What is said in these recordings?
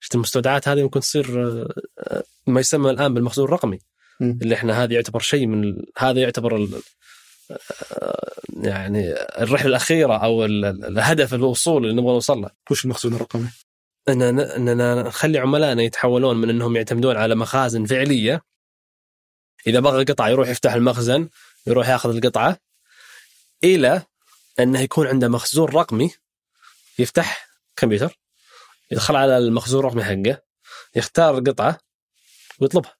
شفت المستودعات هذه ممكن تصير آه، ما يسمى الان بالمخزون الرقمي مم. اللي احنا هذا يعتبر شيء من ال- هذا يعتبر ال... آه، يعني الرحله الاخيره او ال- ال- الهدف الوصول اللي نبغى نوصل له وش المخزون الرقمي؟ اننا اننا نخلي عملائنا يتحولون من انهم يعتمدون على مخازن فعليه اذا بغى قطعه يروح يفتح المخزن يروح ياخذ القطعه الى انه يكون عنده مخزون رقمي يفتح كمبيوتر يدخل على المخزون الرقمي حقه يختار قطعه ويطلبها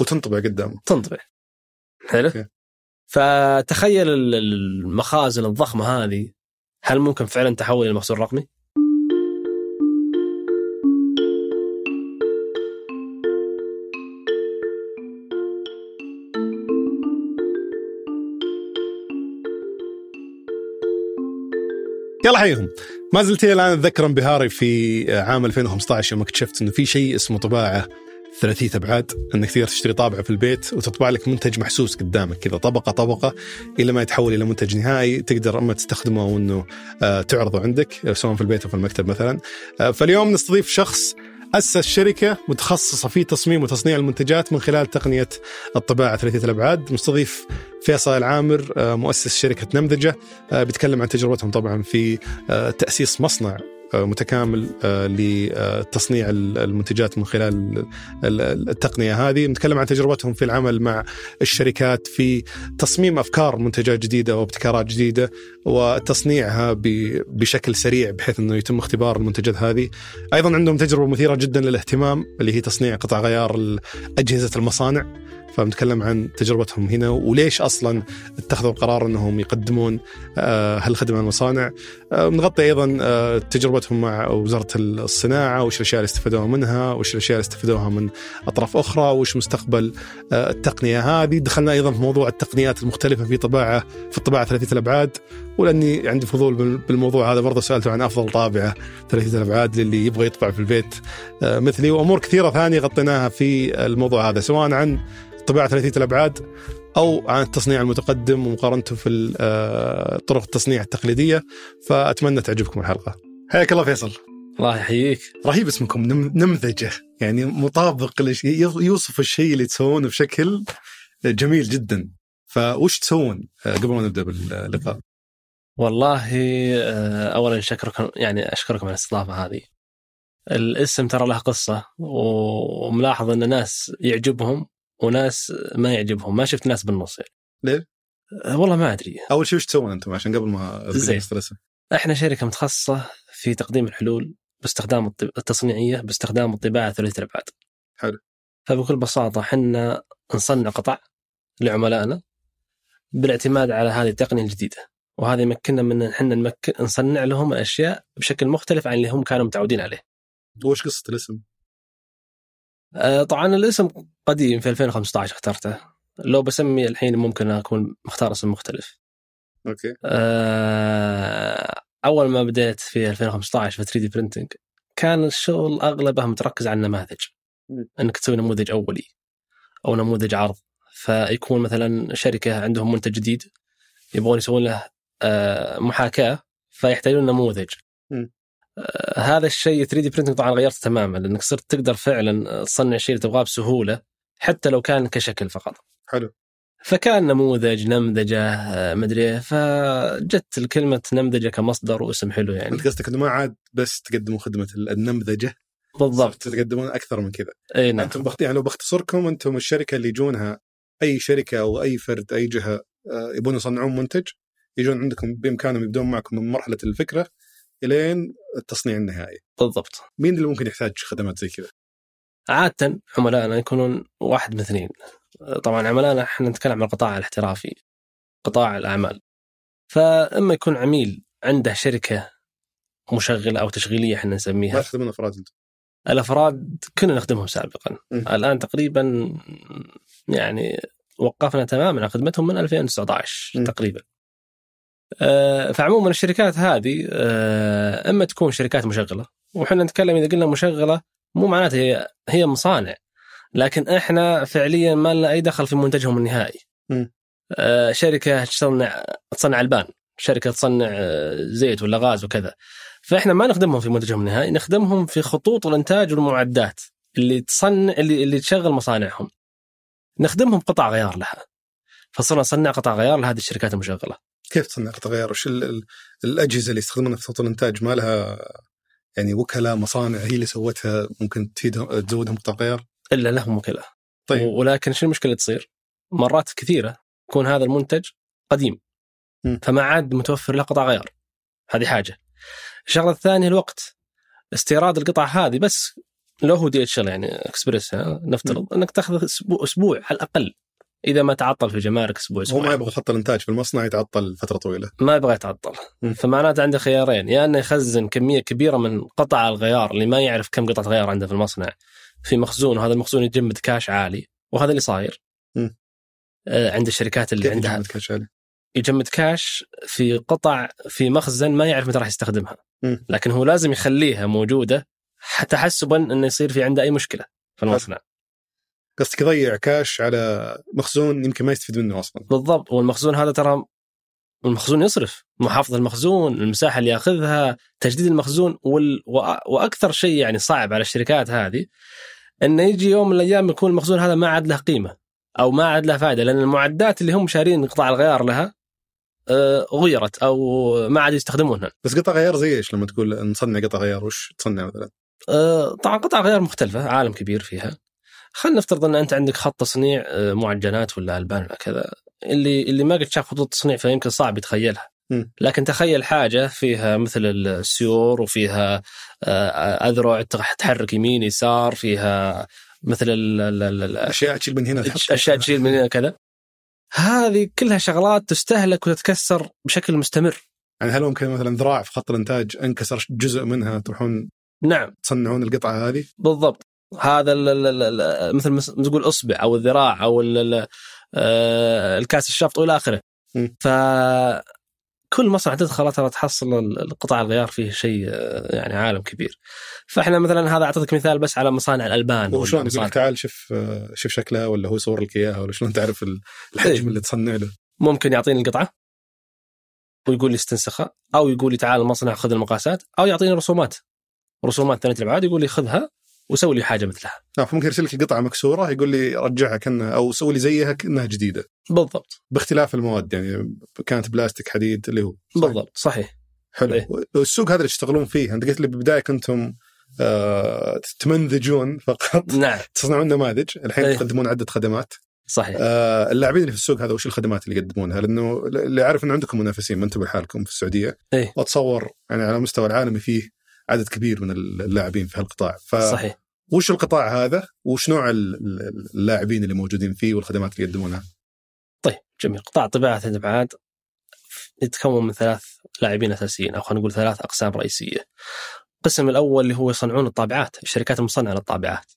وتنطبع قدامه تنطبع حلو أوكي. فتخيل ال- المخازن الضخمه هذه هل ممكن فعلا تحول الى مخزون رقمي؟ يلا حيهم ما زلت الى الان اتذكر انبهاري في عام 2015 يوم اكتشفت انه في شيء اسمه طباعه ثلاثيه ابعاد انك تقدر تشتري طابعه في البيت وتطبع لك منتج محسوس قدامك كذا طبقه طبقه الى ما يتحول الى منتج نهائي تقدر اما تستخدمه او انه آه، تعرضه عندك آه، سواء في البيت او في المكتب مثلا آه، فاليوم نستضيف شخص اسس شركه متخصصه في تصميم وتصنيع المنتجات من خلال تقنيه الطباعه ثلاثيه الابعاد مستضيف فيصل العامر آه، مؤسس شركه نمذجه آه، بيتكلم عن تجربتهم طبعا في آه، تاسيس مصنع آه، متكامل آه، لتصنيع ال- المنتجات من خلال ال- ال- التقنيه هذه، نتكلم عن تجربتهم في العمل مع الشركات في تصميم افكار منتجات جديده وابتكارات جديده وتصنيعها ب- بشكل سريع بحيث انه يتم اختبار المنتجات هذه. ايضا عندهم تجربه مثيره جدا للاهتمام اللي هي تصنيع قطع غيار ال- اجهزه المصانع. فبنتكلم عن تجربتهم هنا وليش اصلا اتخذوا القرار انهم يقدمون آه، هالخدمه للمصانع آه، بنغطي ايضا آه، تجربتهم مع وزاره الصناعه وش الاشياء اللي استفادوها منها وش الاشياء اللي استفادوها من اطراف اخرى وش مستقبل آه، التقنيه هذه دخلنا ايضا في موضوع التقنيات المختلفه في طباعه في الطباعه ثلاثيه الابعاد ولاني عندي فضول بال- بالموضوع هذا برضه سالته عن افضل طابعه ثلاثيه الابعاد للي يبغى يطبع في البيت آه، مثلي وامور كثيره ثانيه غطيناها في الموضوع هذا سواء عن طباعه ثلاثيه الابعاد او عن التصنيع المتقدم ومقارنته في ال- آه، طرق التصنيع التقليديه فاتمنى تعجبكم الحلقه. حياك الله فيصل. الله يحييك رهيب اسمكم نم- نمذجه يعني مطابق لش- ي- يوصف الشيء اللي تسوونه بشكل جميل جدا. فوش تسوون آه، قبل ما نبدا باللقاء؟ والله آه، اولا شكركم يعني اشكركم على الاستضافه هذه الاسم ترى له قصه و- وملاحظ ان ناس يعجبهم وناس ما يعجبهم ما شفت ناس بالنص يعني ليه؟ آه، والله ما ادري اول شيء وش تسوون انتم عشان قبل ما أذكر زين. نفس الاسم. احنا شركه متخصصه في تقديم الحلول باستخدام الطب- التصنيعيه باستخدام الطباعه ثلاثيه الابعاد حلو. فبكل بساطه احنا نصنع قطع لعملائنا بالاعتماد على هذه التقنيه الجديده وهذا يمكننا من ان احنا نمك- نصنع لهم الاشياء بشكل مختلف عن اللي هم كانوا متعودين عليه. وش قصه الاسم؟ آه، طبعا الاسم قديم في 2015 اخترته لو بسمي الحين ممكن اكون مختار اسم مختلف. اوكي آه، اول ما بديت في 2015 في 3 دي برنتنج كان الشغل اغلبه متركز على النماذج مم. انك تسوي نموذج اولي او نموذج عرض فيكون مثلا شركه عندهم منتج جديد يبغون يسوون له آه، محاكاه فيحتاجون نموذج مم. آه، هذا الشيء 3 دي برنتنج طبعا غيرته تماما لانك صرت تقدر فعلا تصنع الشيء اللي تبغاه بسهوله حتى لو كان كشكل فقط حلو فكان نموذج نمذجه آه، مدري إيه، فجت الكلمه نمذجه كمصدر واسم حلو يعني انت قصدك انه ما عاد بس تقدمون خدمه ال- النمذجه بالضبط صرتوا تقدمون اكثر من كذا. اي نعم انتم بخت... يعني لو بختصركم انتم الشركه اللي يجونها اي شركه او اي فرد اي جهه آه، يبون يصنعون منتج يجون عندكم بامكانهم يبدون معكم من مرحله الفكره الين التصنيع النهائي. بالضبط مين اللي ممكن يحتاج خدمات زي كذا؟ عاده عملائنا يكونون واحد من اثنين آه، طبعا عملائنا احنا نتكلم عن القطاع الاحترافي قطاع الاعمال فاما يكون عميل عنده شركه مشغله او تشغيليه احنا نسميها ما تخدمون افراد انتم. الافراد كنا نخدمهم سابقا مم. الان تقريبا يعني وقفنا تماما عن خدمتهم من 2019 مم. تقريبا آه، فعموما الشركات هذه آه، اما تكون شركات مشغله وحنا نتكلم اذا قلنا مشغله مو معناته هي هي مصانع لكن احنا فعليا ما لنا اي دخل في منتجهم النهائي مم. آه، شركه تصنع تصنع البان شركه تصنع آه، زيت ولا غاز وكذا فاحنا ما نخدمهم في منتجهم النهائي نخدمهم في خطوط الانتاج والمعدات اللي تصنع اللي اللي تشغل مصانعهم نخدمهم قطع غيار لها فصرنا نصنع قطع غيار لهذه الشركات المشغله كيف تصنع قطع غيار؟ وش ال- ال- الاجهزه اللي يستخدمونها في خطوط الانتاج ما لها يعني وكلاء مصانع هي اللي سوتها ممكن تفيدهم تزودهم قطع غيار؟ الا لهم وكلاء طيب. و- ولكن شو المشكله اللي تصير؟ مرات كثيره يكون هذا المنتج قديم مم. فما عاد متوفر له قطع غيار هذه حاجه الشغله الثانيه الوقت استيراد القطع هذه بس لو هو دي اتش يعني اكسبريس ها، نفترض انك تاخذ اسبوع اسبوع على الاقل اذا ما تعطل في جمارك اسبوع هو اسبوع ما يبغى خط الانتاج في المصنع يتعطل فتره طويله. ما يبغى يتعطل مم. فمعناته عنده خيارين يا انه يخزن كميه كبيره من قطع الغيار اللي ما يعرف كم قطعه غيار عنده في المصنع في مخزون وهذا المخزون يجمد كاش عالي وهذا اللي صاير مم. آه، عند الشركات اللي كيف عندها يجمد كاش عالي؟ يجمد كاش في قطع في مخزن ما يعرف متى راح يستخدمها مم. لكن هو لازم يخليها موجوده حتى تحسبا انه يصير في عنده اي مشكله في المصنع قصدك يضيع كاش على مخزون يمكن ما يستفيد منه اصلا. بالضبط والمخزون هذا ترى المخزون يصرف محافظة المخزون المساحة اللي ياخذها تجديد المخزون وال... وأ- وأكثر شيء يعني صعب على الشركات هذه أنه يجي يوم من الأيام يكون المخزون هذا ما عاد له قيمة أو ما عاد له فائدة لأن المعدات اللي هم شارين قطاع الغيار لها آه، غيرت أو ما عاد يستخدمونها بس قطع غيار زي ايش لما تقول نصنع قطع غيار وش تصنع مثلا؟ آه، طبعا قطع غيار مختلفة عالم كبير فيها خلينا نفترض ان انت عندك خط تصنيع آه، معجنات ولا البان ولا كذا اللي اللي ما قد شاف خطوط تصنيع فيمكن صعب يتخيلها مم. لكن تخيل حاجه فيها مثل السيور وفيها آه، اذرع تح- تحرك يمين يسار فيها مثل ال- ال- ال- ال- اشياء تشيل من هنا تحط- اشياء تشيل من هنا كذا هذه كلها شغلات تستهلك وتتكسر بشكل مستمر يعني هل ممكن مثلا ذراع في خط الانتاج انكسر جزء منها تروحون نعم تصنعون القطعه هذه؟ بالضبط هذا ال ال ال ال مثل ما س- ما تقول اصبع او الذراع او ال ال آه، الكاس الشفط والى اخره م. فكل مصنع تدخله ترى تحصل ال- القطع الغيار فيه شيء آه، يعني عالم كبير فاحنا مثلا هذا اعطيتك مثال بس على مصانع الالبان وشلون يقول والمصانع. لك تعال شوف آه، شوف شكلها ولا هو صور لك اياها ولا شلون تعرف ال- إيه. الحجم اللي تصنع له ممكن يعطيني القطعه ويقول لي استنسخها او يقول لي تعال المصنع خذ المقاسات او يعطيني رسومات رسومات ثانيه الابعاد يقول لي خذها وسوي لي حاجه مثلها آه، فممكن يرسل لك قطعه مكسوره يقول لي رجعها كانها او سوي لي زيها كانها جديده بالضبط باختلاف المواد يعني كانت بلاستيك حديد اللي هو صح؟ بالضبط صحيح حلو إيه. والسوق هذا اللي تشتغلون فيه انت قلت لي بالبدايه كنتم آه، تمنذجون فقط نعم تصنعون نماذج الحين إيه. تقدمون عده خدمات صحيح آه، اللاعبين اللي في السوق هذا وش الخدمات اللي يقدمونها؟ لانه اللي اعرف انه عندكم منافسين ما انتم لحالكم في السعوديه إيه. واتصور يعني على المستوى العالمي فيه عدد كبير من اللاعبين في هالقطاع صحيح فوش القطاع هذا وش نوع ال- ال- اللاعبين اللي موجودين فيه والخدمات اللي يقدمونها طيب جميل قطاع طباعة الأبعاد يتكون من ثلاث لاعبين أساسيين أو خلينا نقول ثلاث أقسام رئيسية القسم الأول اللي هو يصنعون الطابعات الشركات المصنعة للطابعات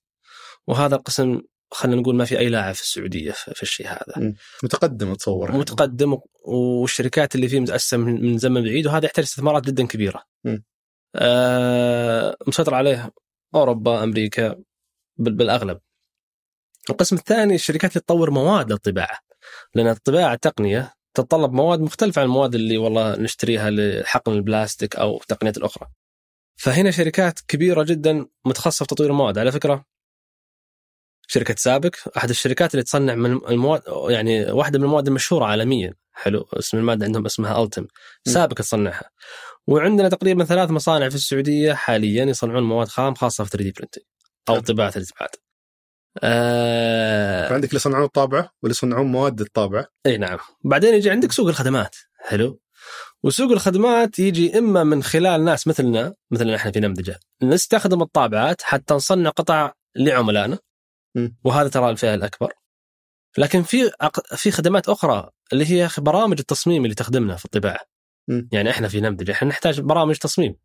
وهذا القسم خلينا نقول ما في أي لاعب في السعودية في في الشيء هذا متقدم اتصور متقدم و- والشركات اللي فيه متأسسة من من زمن بعيد وهذا يحتاج استثمارات جدا كبيرة مم. آه مسيطر عليه أوروبا أمريكا بال- بالأغلب القسم الثاني الشركات اللي تطور مواد للطباعة لأن الطباعة تقنية تتطلب مواد مختلفة عن المواد اللي والله نشتريها لحقن البلاستيك أو التقنيات الأخرى فهنا شركات كبيرة جدا متخصصة في تطوير المواد على فكرة شركة سابك أحد الشركات اللي تصنع من المواد يعني واحدة من المواد المشهورة عالميا حلو اسم المادة عندهم اسمها ألتم سابك تصنعها وعندنا تقريبا ثلاث مصانع في السعودية حاليا يصنعون مواد خام خاصة في 3 دي برنتنج أو حلو. طباعة الإبعاد آه... عندك اللي يصنعون الطابعه واللي يصنعون مواد الطابعه اي نعم بعدين يجي عندك سوق الخدمات حلو وسوق الخدمات يجي اما من خلال ناس مثلنا مثلنا احنا في نمذجه نستخدم الطابعات حتى نصنع قطع لعملائنا مم. وهذا ترى الفئه الاكبر لكن في أق- في خدمات اخرى اللي هي برامج التصميم اللي تخدمنا في الطباعه مم. يعني احنا في نمذجه احنا نحتاج برامج تصميم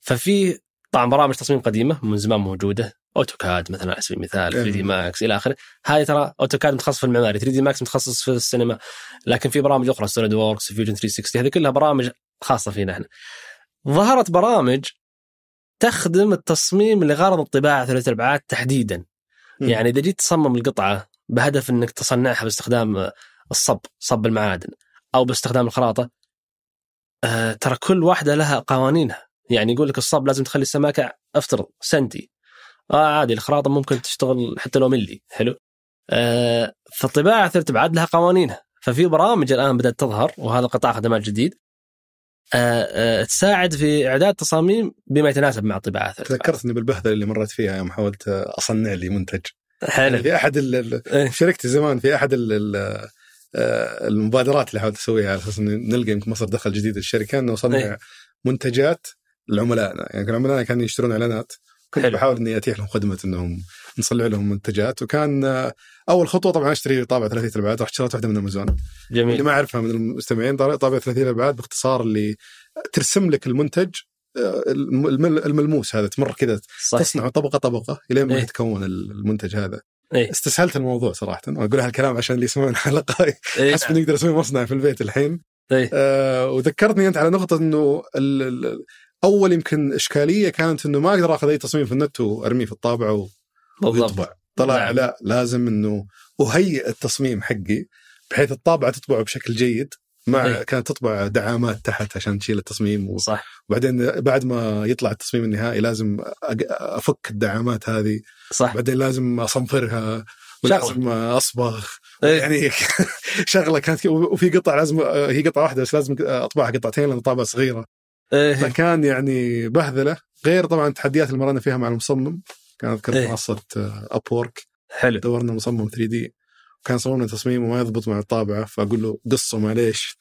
ففي طبعا برامج تصميم قديمه من زمان موجوده اوتوكاد مثلا على سبيل المثال 3 دي مم. ماكس الى اخره هذه ترى اوتوكاد متخصص في المعماري 3 دي ماكس متخصص في السينما لكن في برامج اخرى سوليد ووركس فيوجن 360 هذه كلها برامج خاصه فينا احنا ظهرت برامج تخدم التصميم لغرض الطباعه ثلاث الابعاد تحديدا مم. يعني اذا جيت تصمم القطعه بهدف انك تصنعها باستخدام الصب صب المعادن او باستخدام الخراطه آه، ترى كل واحده لها قوانينها يعني يقول لك الصب لازم تخلي السماكه افترض سنتي اه عادي الخراطه ممكن تشتغل حتى لو ملي حلو آه فالطباعه ثلاث ابعاد لها قوانينها ففي برامج الان بدات تظهر وهذا قطاع خدمات جديد آه آه تساعد في اعداد تصاميم بما يتناسب مع الطباعه ثلاث أبعاد. تذكرتني بالبهذله اللي مرت فيها يوم حاولت اصنع لي منتج يعني حلو في احد ال- ال- إيه. شاركت زمان في احد ال- ال- آه، المبادرات اللي حاولت اسويها على اساس إن نلقى يمكن مصدر دخل جديد للشركه انه إيه. نصنع منتجات لعملائنا يعني كان عملائنا كانوا يشترون اعلانات كنت حلو. بحاول اني اتيح لهم خدمه انهم نصنع لهم منتجات وكان آه، اول خطوه طبعا اشتري طابعه ثلاثيه الابعاد رحت اشتريت واحده من امازون إيه. اللي جميل ما اعرفها من المستمعين طابعه طابعه ثلاثيه الابعاد باختصار اللي ترسم لك المنتج آه، الم- الم- الملموس هذا تمر كذا صح تصنع طبقه طبقه الين ما طيب. إيه. يتكون المنتج هذا إيه. استسهلت الموضوع صراحه واقول هالكلام عشان اللي يسمعون الحلقه إيه. حسب اني اقدر اسوي مصنع في البيت الحين إيه. آه وذكرتني انت على نقطه انه ال- ال- اول يمكن اشكاليه كانت انه ما اقدر اخذ اي تصميم في النت وارميه في الطابعه و- بالضبط ويطبع طلع نعم. لا لازم انه اهيئ التصميم حقي بحيث الطابعه تطبعه بشكل جيد مع إيه. كانت تطبع دعامات تحت عشان تشيل التصميم و... صح وبعدين بعد ما يطلع التصميم النهائي لازم أق- افك الدعامات هذه صح بعدين لازم اصنفرها ولازم اصبغ إيه. يعني شغله كانت كي- وفي قطع لازم هي قطعه واحده بس لازم اطبعها قطعتين لان طابعه صغيره إيه. فكان يعني بهذله غير طبعا التحديات اللي مرينا فيها مع المصمم كان اذكر إيه. منصه اب وورك حلو آه، دورنا مصمم 3 دي وكان صمم لنا تصميم وما يضبط مع الطابعه فاقول له قصه معليش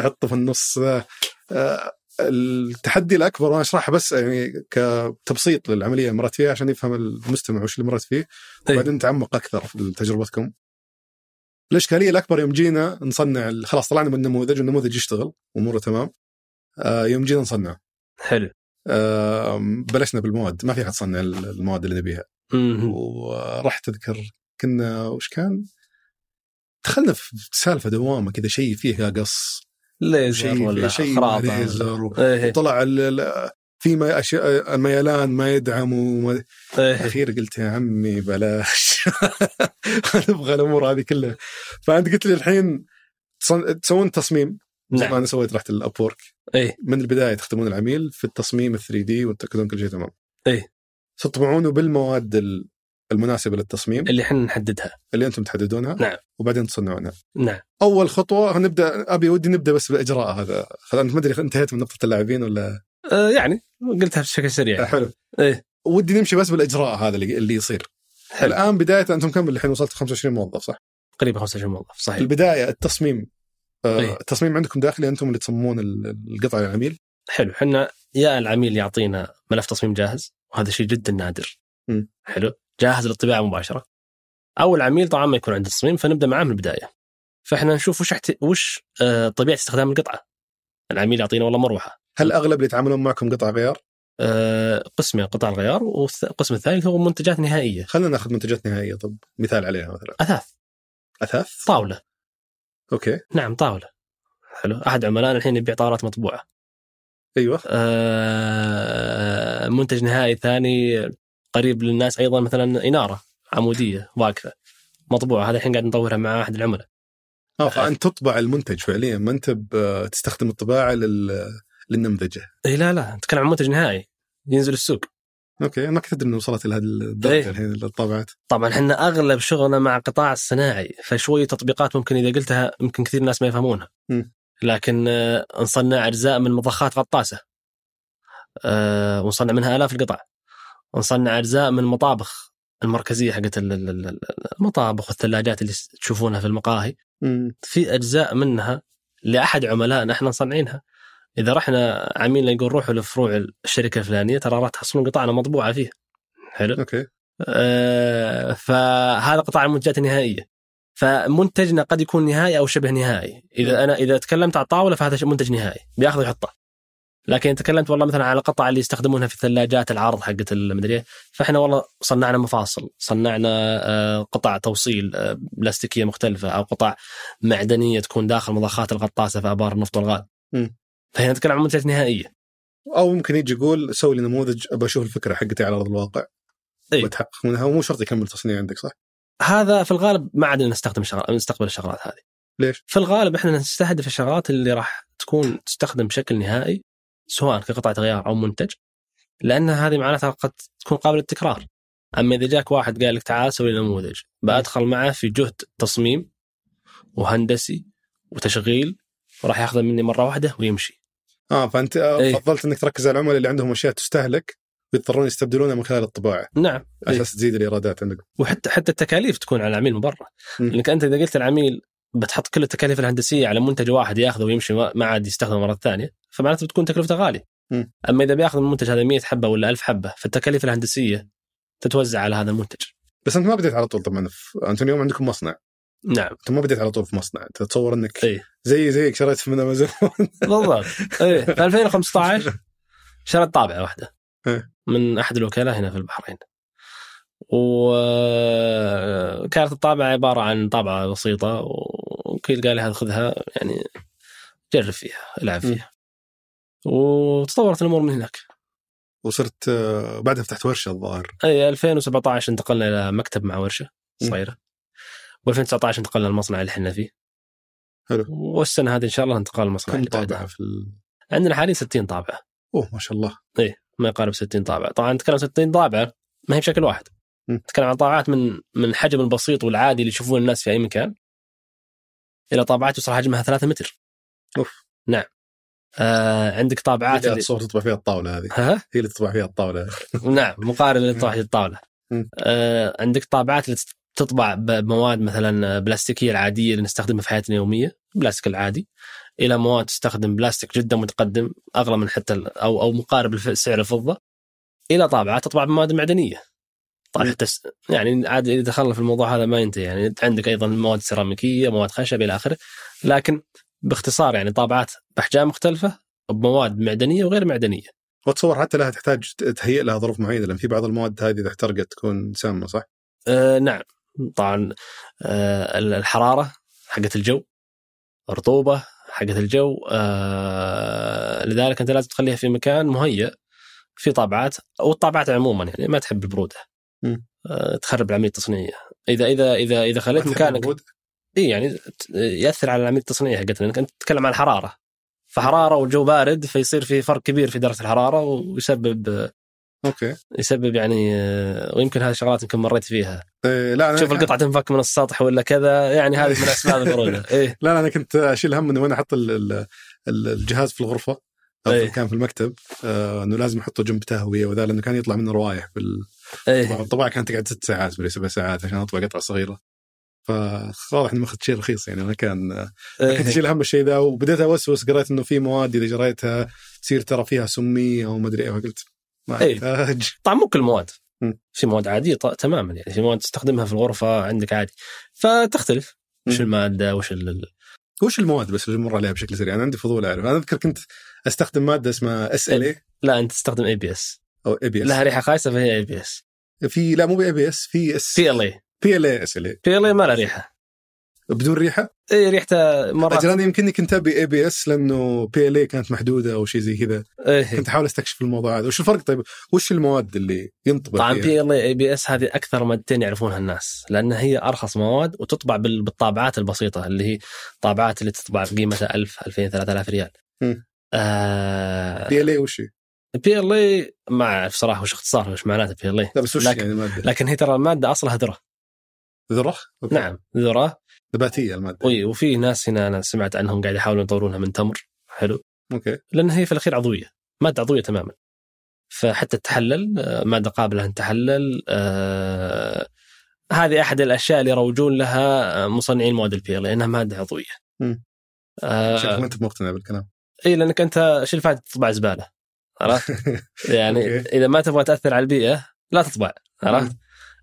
حطه في النص آه، آه، التحدي الاكبر وانا اشرحه بس يعني كتبسيط للعمليه اللي مرت فيها عشان يفهم المستمع وش اللي مرت فيه إيه. وبعدين نتعمق اكثر في تجربتكم الاشكاليه الاكبر يوم جينا نصنع ال- خلاص طلعنا من النموذج والنموذج يشتغل اموره تمام آه، يوم جينا نصنع حلو بلشنا بالمواد ما في احد صنع ال- المواد اللي نبيها مهم. ورحت اذكر كنا وش كان؟ دخلنا في سالفه دوامه كذا شيء فيها قص ليزر شيء ولا شيء مع خراطه ليزر و- إيه. وطلع ال- ال- في ما اشياء الميلان ما يدعم وما إيه. اخير قلت يا عمي بلاش نبغى الامور هذه كلها فانت قلت لي الحين تصن- تسوون تصميم زي ما نعم انا سويت رحت الاب وورك إيه. من البدايه تخدمون العميل في التصميم ال 3 دي وتاكدون كل شيء تمام إيه. تطبعونه بالمواد ال- المناسبه للتصميم اللي احنا نحددها اللي انتم تحددونها إيه. نعم. وبعدين تصنعونها نعم اول خطوه نبدا ابي ودي نبدا بس بالاجراء هذا خلاص ما ادري انتهيت من نقطه اللاعبين ولا آه، يعني قلتها بشكل سريع آه، حلو إيه. ودي نمشي بس بالاجراء هذا اللي, اللي يصير حلو. الان بدايه انتم كم الحين وصلت 25 موظف صح؟ تقريبا 25 موظف صحيح البدايه التصميم آه، إيه. التصميم عندكم داخلي انتم اللي تصممون ال- القطع للعميل حلو احنا يا العميل يعطينا ملف تصميم جاهز وهذا شيء جدا نادر مم. حلو جاهز للطباعه مباشره او العميل طبعا ما يكون عنده تصميم فنبدا معاه من البدايه فاحنا نشوف وش احت... وش آه، طبيعه استخدام القطعه العميل يعطينا والله مروحه هل اغلب اللي يتعاملون معكم قطع غيار؟ آه، قسمين قطع الغيار والقسم الثالث هو منتجات نهائيه خلينا ناخذ منتجات نهائيه طب مثال عليها مثلا اثاث اثاث طاوله اوكي نعم طاوله حلو احد عملائنا الحين يبيع طاولات مطبوعه ايوه آه، منتج نهائي ثاني قريب للناس ايضا مثلا اناره عموديه واقفه مطبوعه هذا الحين قاعد نطورها مع احد العملاء اه فانت تطبع المنتج فعليا ما انت ب- تستخدم الطباعه لل... للنمذجه اي إيه، لا لا نتكلم عن منتج نهائي ينزل السوق اوكي انا كنت ادري انه وصلت لهذه الدرجه إيه. الحين الطابعات طبعا احنا اغلب شغلنا مع قطاع الصناعي فشويه تطبيقات ممكن اذا قلتها يمكن كثير ناس ما يفهمونها م. لكن آه، نصنع اجزاء من مضخات غطاسه آه، ونصنع منها الاف القطع ونصنع اجزاء من مطابخ المركزيه حقت ال- ال- ال- المطابخ والثلاجات اللي تشوفونها في المقاهي امم في اجزاء منها لاحد عملائنا احنا مصنعينها اذا رحنا عميلنا يقول روحوا لفروع الشركه الفلانيه ترى راح تحصلون قطعنا مطبوعه فيها حلو اوكي آه، فهذا قطاع المنتجات النهائيه فمنتجنا قد يكون نهائي او شبه نهائي اذا انا اذا تكلمت على الطاوله فهذا شيء منتج نهائي بياخذه ويحطه لكن إذا تكلمت والله مثلا على القطع اللي يستخدمونها في الثلاجات العرض حقت المدري إيه، فاحنا والله صنعنا مفاصل صنعنا آه، قطع توصيل آه، بلاستيكيه مختلفه او قطع معدنيه تكون داخل مضخات الغطاسه في ابار النفط والغاز مم. فهنا نتكلم عن منتجات نهائيه او ممكن يجي يقول سوي لي نموذج ابى اشوف الفكره حقتي على ارض الواقع إيه. بتحقق منها ومو شرط يكمل تصنيع عندك صح؟ هذا في الغالب ما عاد نستخدم شغل... نستقبل الشغلات هذه ليش؟ في الغالب احنا نستهدف الشغلات اللي راح تكون تستخدم بشكل نهائي سواء كقطعه غيار او منتج لان هذه معناتها قد تكون قابله للتكرار اما اذا جاك واحد قال لك تعال سوي لي نموذج بادخل معه في جهد تصميم وهندسي وتشغيل وراح ياخذه مني مره واحده ويمشي اه فانت إيه. آه، فضلت انك تركز على العملاء اللي عندهم اشياء تستهلك ويضطرون يستبدلونها من خلال الطباعه نعم إيه. على اساس تزيد الايرادات عندكم وحتى حتى التكاليف تكون على العميل مبرر مم. لانك انت اذا قلت العميل بتحط كل التكاليف الهندسيه على منتج واحد ياخذه ويمشي ما ما عاد يستخدمه مره ثانيه فمعناته بتكون تكلفته غاليه مم. اما اذا بياخذ من المنتج هذا 100 حبه ولا 1000 حبه فالتكاليف الهندسيه تتوزع على هذا المنتج بس انت ما بديت على طول طبعا في- انت اليوم عندكم مصنع نعم انت ما بديت على طول في مصنع تتصور انك إيه. زي زيك شريت من امازون بالضبط ايه في 2015 شريت طابعه واحده إيه. من احد الوكلاء هنا في البحرين وكانت الطابعه عباره عن طابعه بسيطه وكيل قال لي هذا خذها يعني جرب فيها العب م. فيها وتطورت الامور من هناك وصرت آه، بعدها فتحت ورشه الظاهر اي 2017 إيه، انتقلنا الى مكتب مع ورشه م. صغيره و2019 انتقلنا المصنع اللي احنا فيه حلو. والسنه هذه ان شاء الله انتقال المصنع كم اللي بعدها. طابعه في ال... عندنا حاليا 60 طابعه اوه ما شاء الله ما يقارب 60 طابعه، طبعا نتكلم 60 طابعه ما هي بشكل واحد. م. نتكلم عن طابعات من من الحجم البسيط والعادي اللي يشوفونه الناس في اي مكان الى طابعات يوصل حجمها 3 متر. أوف. نعم. آه عندك طابعات هي اللي... الصور تطبع فيها الطاوله هذه ها؟ هي اللي تطبع فيها الطاوله نعم مقارنه لطرح الطاوله. م. آه عندك طابعات اللي تطبع ب- بمواد مثلا بلاستيكيه العاديه اللي نستخدمها في حياتنا اليوميه، البلاستيك العادي الى مواد تستخدم بلاستيك جدا متقدم اغلى من حتى ال- او او مقارب لف- سعر الفضه الى طابعه تطبع بمواد معدنيه. طبعا م. حتى س- يعني عاد اذا دخلنا في الموضوع هذا ما ينتهي يعني أنت عندك ايضا مواد سيراميكيه، مواد خشب الى اخره، لكن باختصار يعني طابعات باحجام مختلفه بمواد معدنيه وغير معدنيه. واتصور حتى لها تحتاج تهيئ لها ظروف معينه لان في بعض المواد هذه اذا احترقت تكون سامه صح؟ آه نعم طبعا آه ال- الحراره حقت الجو الرطوبه حقت الجو آه لذلك انت لازم تخليها في مكان مهيأ في طابعات او الطابعات عموما يعني ما تحب البروده مم. آه تخرب العمليه التصنيعيه اذا اذا اذا اذا خليت ما تحب مكانك الورود؟ اي يعني ت- ياثر على العمليه التصنيعيه حقتنا لانك انت تتكلم عن الحراره فحراره والجو بارد فيصير في فرق كبير في درجه الحراره ويسبب اوكي يسبب يعني آه، ويمكن هذه الشغلات يمكن مريت فيها إيه لا انا تشوف القطعه تنفك من السطح ولا كذا يعني هذه من اسباب البروده ايه لا لا انا كنت اشيل هم انه وين احط ال- ال- ال- الجهاز في الغرفه او إيه. في كان في المكتب آه انه لازم احطه جنب تهويه وذا لانه كان يطلع منه روايح بال- ايه الطباعه كانت تقعد ست ساعات ولا سبع ساعات عشان اطبع قطعه صغيره فواضح انه ماخذ شيء رخيص يعني انا كان كنت إيه. اشيل هم الشيء ذا وبديت اوسوس قريت انه في مواد اذا جريتها تصير ترى فيها سمي او ما ادري ايه فقلت ما إيه. احتاج طبعا مو كل المواد م. في مواد عاديه ط- تماما يعني في مواد تستخدمها في الغرفه عندك عادي فتختلف وش م. الماده وش ال... وش المواد بس اللي مر عليها بشكل سريع انا عندي فضول اعرف انا اذكر كنت استخدم ماده اسمها اس ال اي لا انت تستخدم اي بي اس او اي بي لها ريحه خايسه فهي اي بي اس اس في لا مو بي بي اس في اس سي ال اي بي ال اي اس ال اي بي ال اي ما لها إيه، ريحه بدون ريحه اي ريحته مرات اجل انا يمكنني كنت ابي اي بي اس لانه بي ال اي كانت محدوده او شيء زي كذا إيه. كنت احاول استكشف الموضوع هذا وش الفرق طيب وش المواد اللي ينطبع طبعا فيها؟ بي ال اي بي اس هذه اكثر مادتين يعرفونها الناس لان هي ارخص مواد وتطبع بال- بالطابعات البسيطه اللي هي طابعات اللي تطبع بقيمتها 1000 2000 3000 ريال م. آه بي ال اي وش هي؟ بي ال اي ما اعرف صراحه وش اختصارها وش معناته بي ال اي لا بس وش لكن- يعني الماده؟ لكن هي ترى الماده اصلها ذره ذره؟ أوكي. نعم ذره نباتيه الماده وي- وفي ناس هنا انا سمعت انهم قاعد يحاولون يطورونها من تمر حلو اوكي لان هي في الاخير عضويه ماده عضويه تماما فحتى تتحلل آه، ماده قابله ان تحلل آه، هذه احد الاشياء اللي يروجون لها آه، مصنعين مواد البي ال لانها ماده عضويه مم. شكلك ما آه انت مقتنع بالكلام اي لانك انت شو الفائده تطبع زباله عرفت يعني أوكي. اذا ما تبغى تاثر على البيئه لا تطبع عرفت؟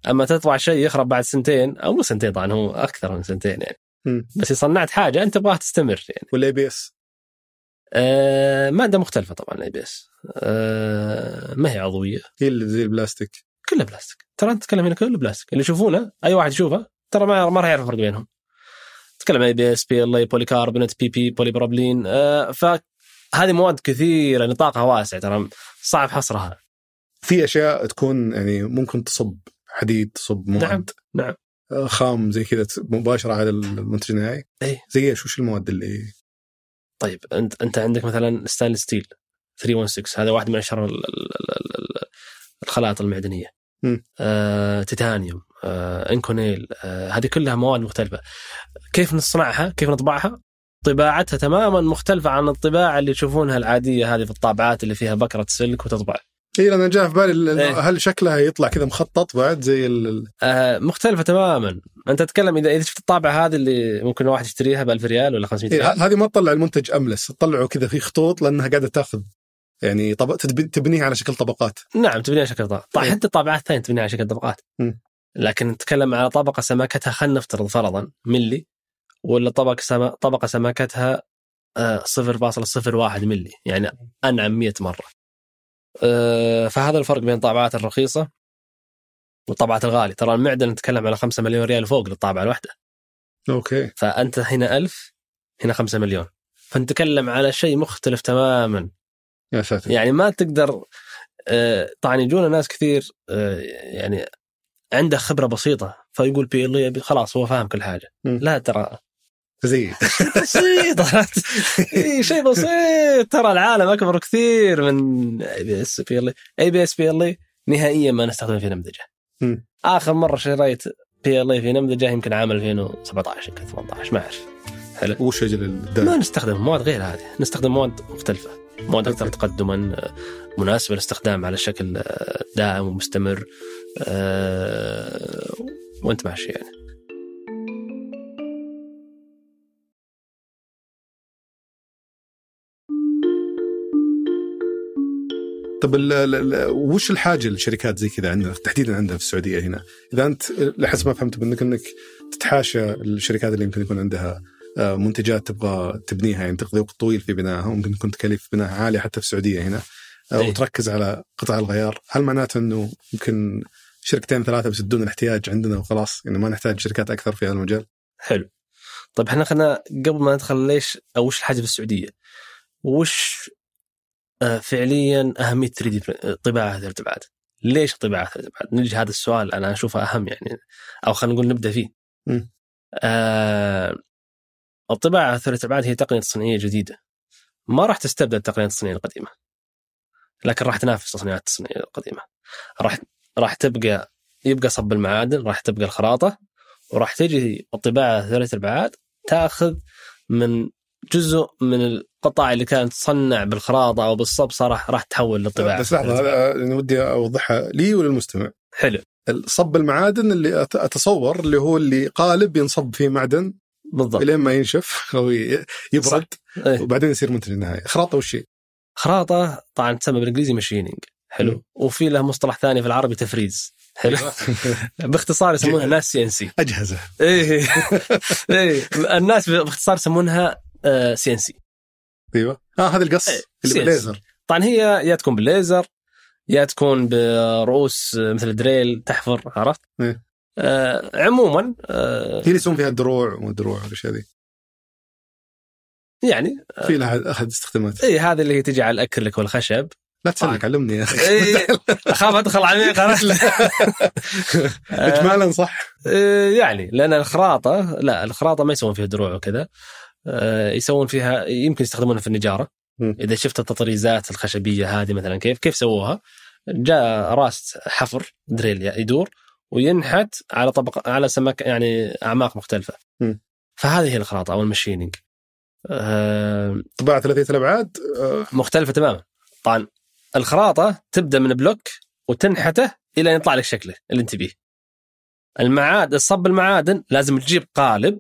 اما تطبع شيء يخرب بعد سنتين او مو سنتين طبعا هو اكثر من سنتين يعني مم. بس إذا صنعت حاجه انت تبغاها تستمر يعني والاي بي اس آه ماده مختلفه طبعا الاي بي اس آه ما هي عضويه هي اللي زي البلاستيك كلها بلاستيك ترى انت تتكلم هنا كله بلاستيك اللي يشوفونه اي واحد يشوفه ترى ما ما راح يعرف الفرق بينهم تتكلم اي بي اس بي ال اي بوليكاربونات بي بي بوليبروبلين آه فهذه مواد كثيره نطاقها واسع ترى صعب حصرها في اشياء تكون يعني ممكن تصب حديد تصب مواد نعم، نعم. آه، خام زي كذا ت- مباشره على المنتج النهائي إيه. زي ايش وش المواد اللي طيب انت انت عندك مثلا ستانلس ستيل 316 هذا واحد من اشهر ال- ال- ال- ال- الخلايط المعدنيه مم. آه، تيتانيوم آه، انكونيل آه، هذه كلها مواد مختلفه كيف نصنعها كيف نطبعها طباعتها تماما مختلفه عن الطباعه اللي تشوفونها العاديه هذه في الطابعات اللي فيها بكره سلك وتطبع اي لان جاء في بالي ال- إيه. هل شكلها يطلع كذا مخطط بعد زي ال- آه، مختلفه تماما انت تتكلم اذا اذا شفت الطابعه هذه اللي ممكن واحد يشتريها ب 1000 ريال ولا 500 إيه، ريال ه- هذه ما تطلع المنتج املس تطلعه كذا في خطوط لانها قاعده تاخذ يعني طب... تدب- تبنيه على شكل طبقات نعم تبنيها على شكل طبقات إيه. طيب حتى الطابعات الثانيه تبنيها على شكل طبقات مم. لكن نتكلم على طبقه سماكتها خلينا نفترض فرضا ملي ولا طبقه سما... طبقه سماكتها آه، 0.01 ملي يعني انعم 100 مره آه، فهذا الفرق بين الطابعات الرخيصه والطابعات الغاليه ترى المعدن نتكلم على 5 مليون ريال فوق للطابعه الواحده اوكي فانت هنا ألف هنا 5 مليون فنتكلم على شيء مختلف تماما يا ساتر يعني ما تقدر آه، طبعا يجونا ناس كثير آه، يعني عنده خبره بسيطه فيقول بي ال يبي- خلاص هو فاهم كل حاجه مم. لا ترى زي بسيطه إي، شيء بسيط ترى العالم اكبر كثير من اي بي اس بي ال اي بي اس بي ال نهائيا ما نستخدمه في نمذجه مم. اخر مره شريت بي ال في نمذجه يمكن عام 2017 يمكن 18 ما اعرف وش اجل ما الدار نستخدم مواد غير هذه نستخدم مواد مختلفة مواد أكثر أوكي. تقدما آه، مناسبة للاستخدام على شكل آه، دائم ومستمر آه، وانت ماشي يعني طب طيب، ال... ال... ال... وش الحاجه للشركات زي كذا عندنا تحديدا عندنا في السعوديه هنا اذا انت لحسب ما فهمت منك انك تتحاشى الشركات اللي يمكن يكون عندها آه، منتجات تبغى تبنيها يعني تقضي وقت طويل في بنائها وممكن تكون تكاليف بنائها عاليه حتى في السعوديه هنا آه، إيه. وتركز على قطع الغيار هل معناته انه يمكن شركتين ثلاثه بيسدون الاحتياج عندنا وخلاص يعني ما نحتاج شركات اكثر في هذا المجال حلو طيب احنا خلينا قبل ما ندخل ليش او وش الحاجة في السعودية وش آه، فعليا أهمية 3 دي آه، طباعة ثلاث أبعاد ليش طباعة ثلاث أبعاد نجي هذا السؤال أنا أشوفه أهم يعني أو خلينا نقول نبدأ فيه مم. آه، الطباعة ثلاث أبعاد هي تقنية صناعية جديدة ما راح تستبدل التقنيات الصناعية القديمة لكن راح تنافس التصنيعات الصناعية القديمة راح راح تبقى يبقى صب المعادن راح تبقى الخراطة وراح تجي الطباعه ثلاث الابعاد تاخذ من جزء من القطع اللي كانت تصنع بالخراطه او بالصب صراحه راح تحول للطباعه بس لحظه هذا أنا ودي اوضحها لي وللمستمع حلو صب المعادن اللي أت- اتصور اللي هو اللي قالب ينصب فيه معدن بالضبط الين ما ينشف او ي- يبرد إيه. وبعدين يصير منتج نهائي خراطه وش هي؟ خراطه طبعا تسمى بالانجليزي ماشينينج حلو مم. أيوة. وفي له مصطلح ثاني في العربي تفريز حلو باختصار يسمونها الناس سي ان سي اجهزه إيه. ايه ايه الناس باختصار يسمونها آه، سي ان سي ايوه اه هذا القص إيه، اللي سيس. بالليزر طبعا هي يا تكون بالليزر يا تكون برؤوس آه، مثل دريل تحفر عرفت؟ إيه. آه عموما آه هي اللي يسوون فيها الدروع والدروع والاشياء ذي يعني في لها احد استخدامات اي هذه اللي هي تجي على الاكريليك والخشب لا تسلك علمني يا اخي إي، اخاف ادخل عميق عرفت؟ آه، اجمالا صح آه، يعني لان الخراطه لا الخراطه ما يسوون فيها دروع وكذا آه، يسوون فيها يمكن يستخدمونها في النجاره مم. اذا شفت التطريزات الخشبيه هذه مثلا كيف كيف سووها؟ جاء راس حفر دريل يدور وينحت على طبق على سمك يعني اعماق مختلفه مم. فهذه هي الخراطه او المشيننج آه، طباعه ثلاثيه الابعاد آه، مختلفه تماما طبعا الخراطه تبدا من بلوك وتنحته الى ان يطلع لك شكله اللي انت بيه المعادن صب المعادن لازم تجيب قالب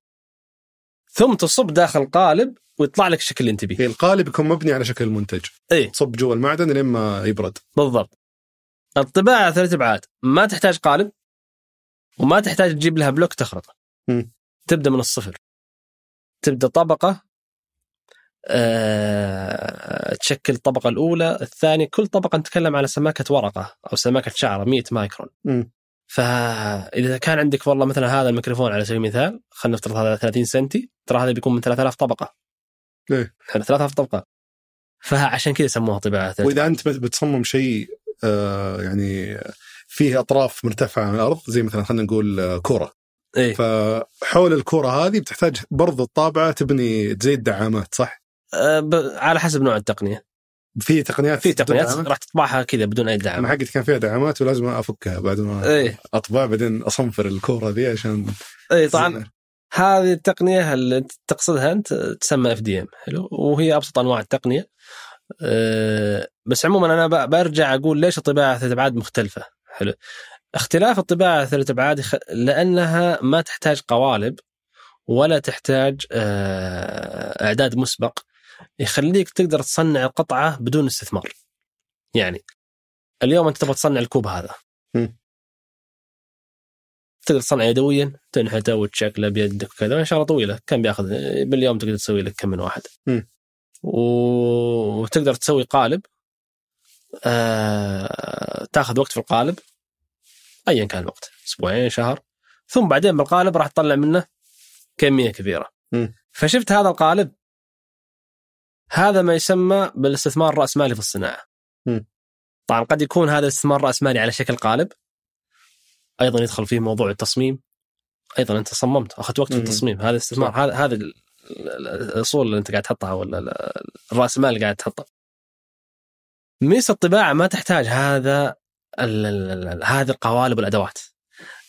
ثم تصب داخل القالب ويطلع لك الشكل اللي انت بيه هي آه، القالب يكون مبني على شكل المنتج إيه. تصب جوا المعدن لين ما يبرد بالضبط الطباعه ثلاث ابعاد ما تحتاج قالب وما تحتاج تجيب لها بلوك تخرطه مم. تبدا من الصفر تبدا طبقه أه... تشكل الطبقه الاولى الثانيه كل طبقه نتكلم على سماكه ورقه او سماكه شعره 100 مايكرون مم. فاذا كان عندك والله مثلا هذا الميكروفون على سبيل المثال خلينا نفترض هذا 30 سنتي ترى هذا بيكون من 3000 طبقه إيه. حلو 3000 طبقه فعشان كذا سموها طباعه ثلاث واذا انت بت- بتصمم شيء آه، يعني فيه اطراف مرتفعه عن الارض زي مثلا خلينا نقول آه، كره إيه. فحول الكره هذه بتحتاج برضو الطابعه تبني زي الدعامات صح؟ أه، ب- على حسب نوع التقنيه في تقنيات في تقنيات تدعم. راح تطبعها كذا بدون اي انا دعم إيه، حقتي كان فيها دعامات ولازم افكها بعد ما اي اطبع بعدين اصنفر الكوره ذي عشان اي طبعا هذه التقنيه اللي أنت تقصدها انت تسمى اف دي ام حلو وهي ابسط انواع التقنيه أه، بس عموما انا ب- برجع اقول ليش الطباعه ثلاث ابعاد مختلفه حلو اختلاف الطباعه ثلاث ابعاد يخ- لانها ما تحتاج قوالب ولا تحتاج أه، اعداد مسبق يخليك تقدر تصنع القطعه بدون استثمار يعني اليوم انت تبغى تصنع الكوب هذا مم. تقدر تصنعه يدويا تنحته وتشكله بيدك وكذا ان شاء الله طويله كم بياخذ باليوم تقدر تسوي لك كم من واحد مم. و- وتقدر تسوي قالب آه... تاخذ وقت في القالب ايا كان الوقت اسبوعين شهر ثم بعدين بالقالب راح تطلع منه كميه كبيره مم. فشفت هذا القالب هذا ما يسمى بالاستثمار الراسمالي في الصناعه مم. طبعا قد يكون هذا الاستثمار الراسمالي على شكل قالب ايضا يدخل فيه موضوع التصميم ايضا انت صممت اخذت وقت في مم. التصميم هذا استثمار هذا هذا ال- ال- الاصول اللي انت قاعد تحطها ولا ال- الراس المال اللي قاعد تحطه ميزه الطباعه ما تحتاج هذا ال- ال- ال- ال- هذه القوالب والادوات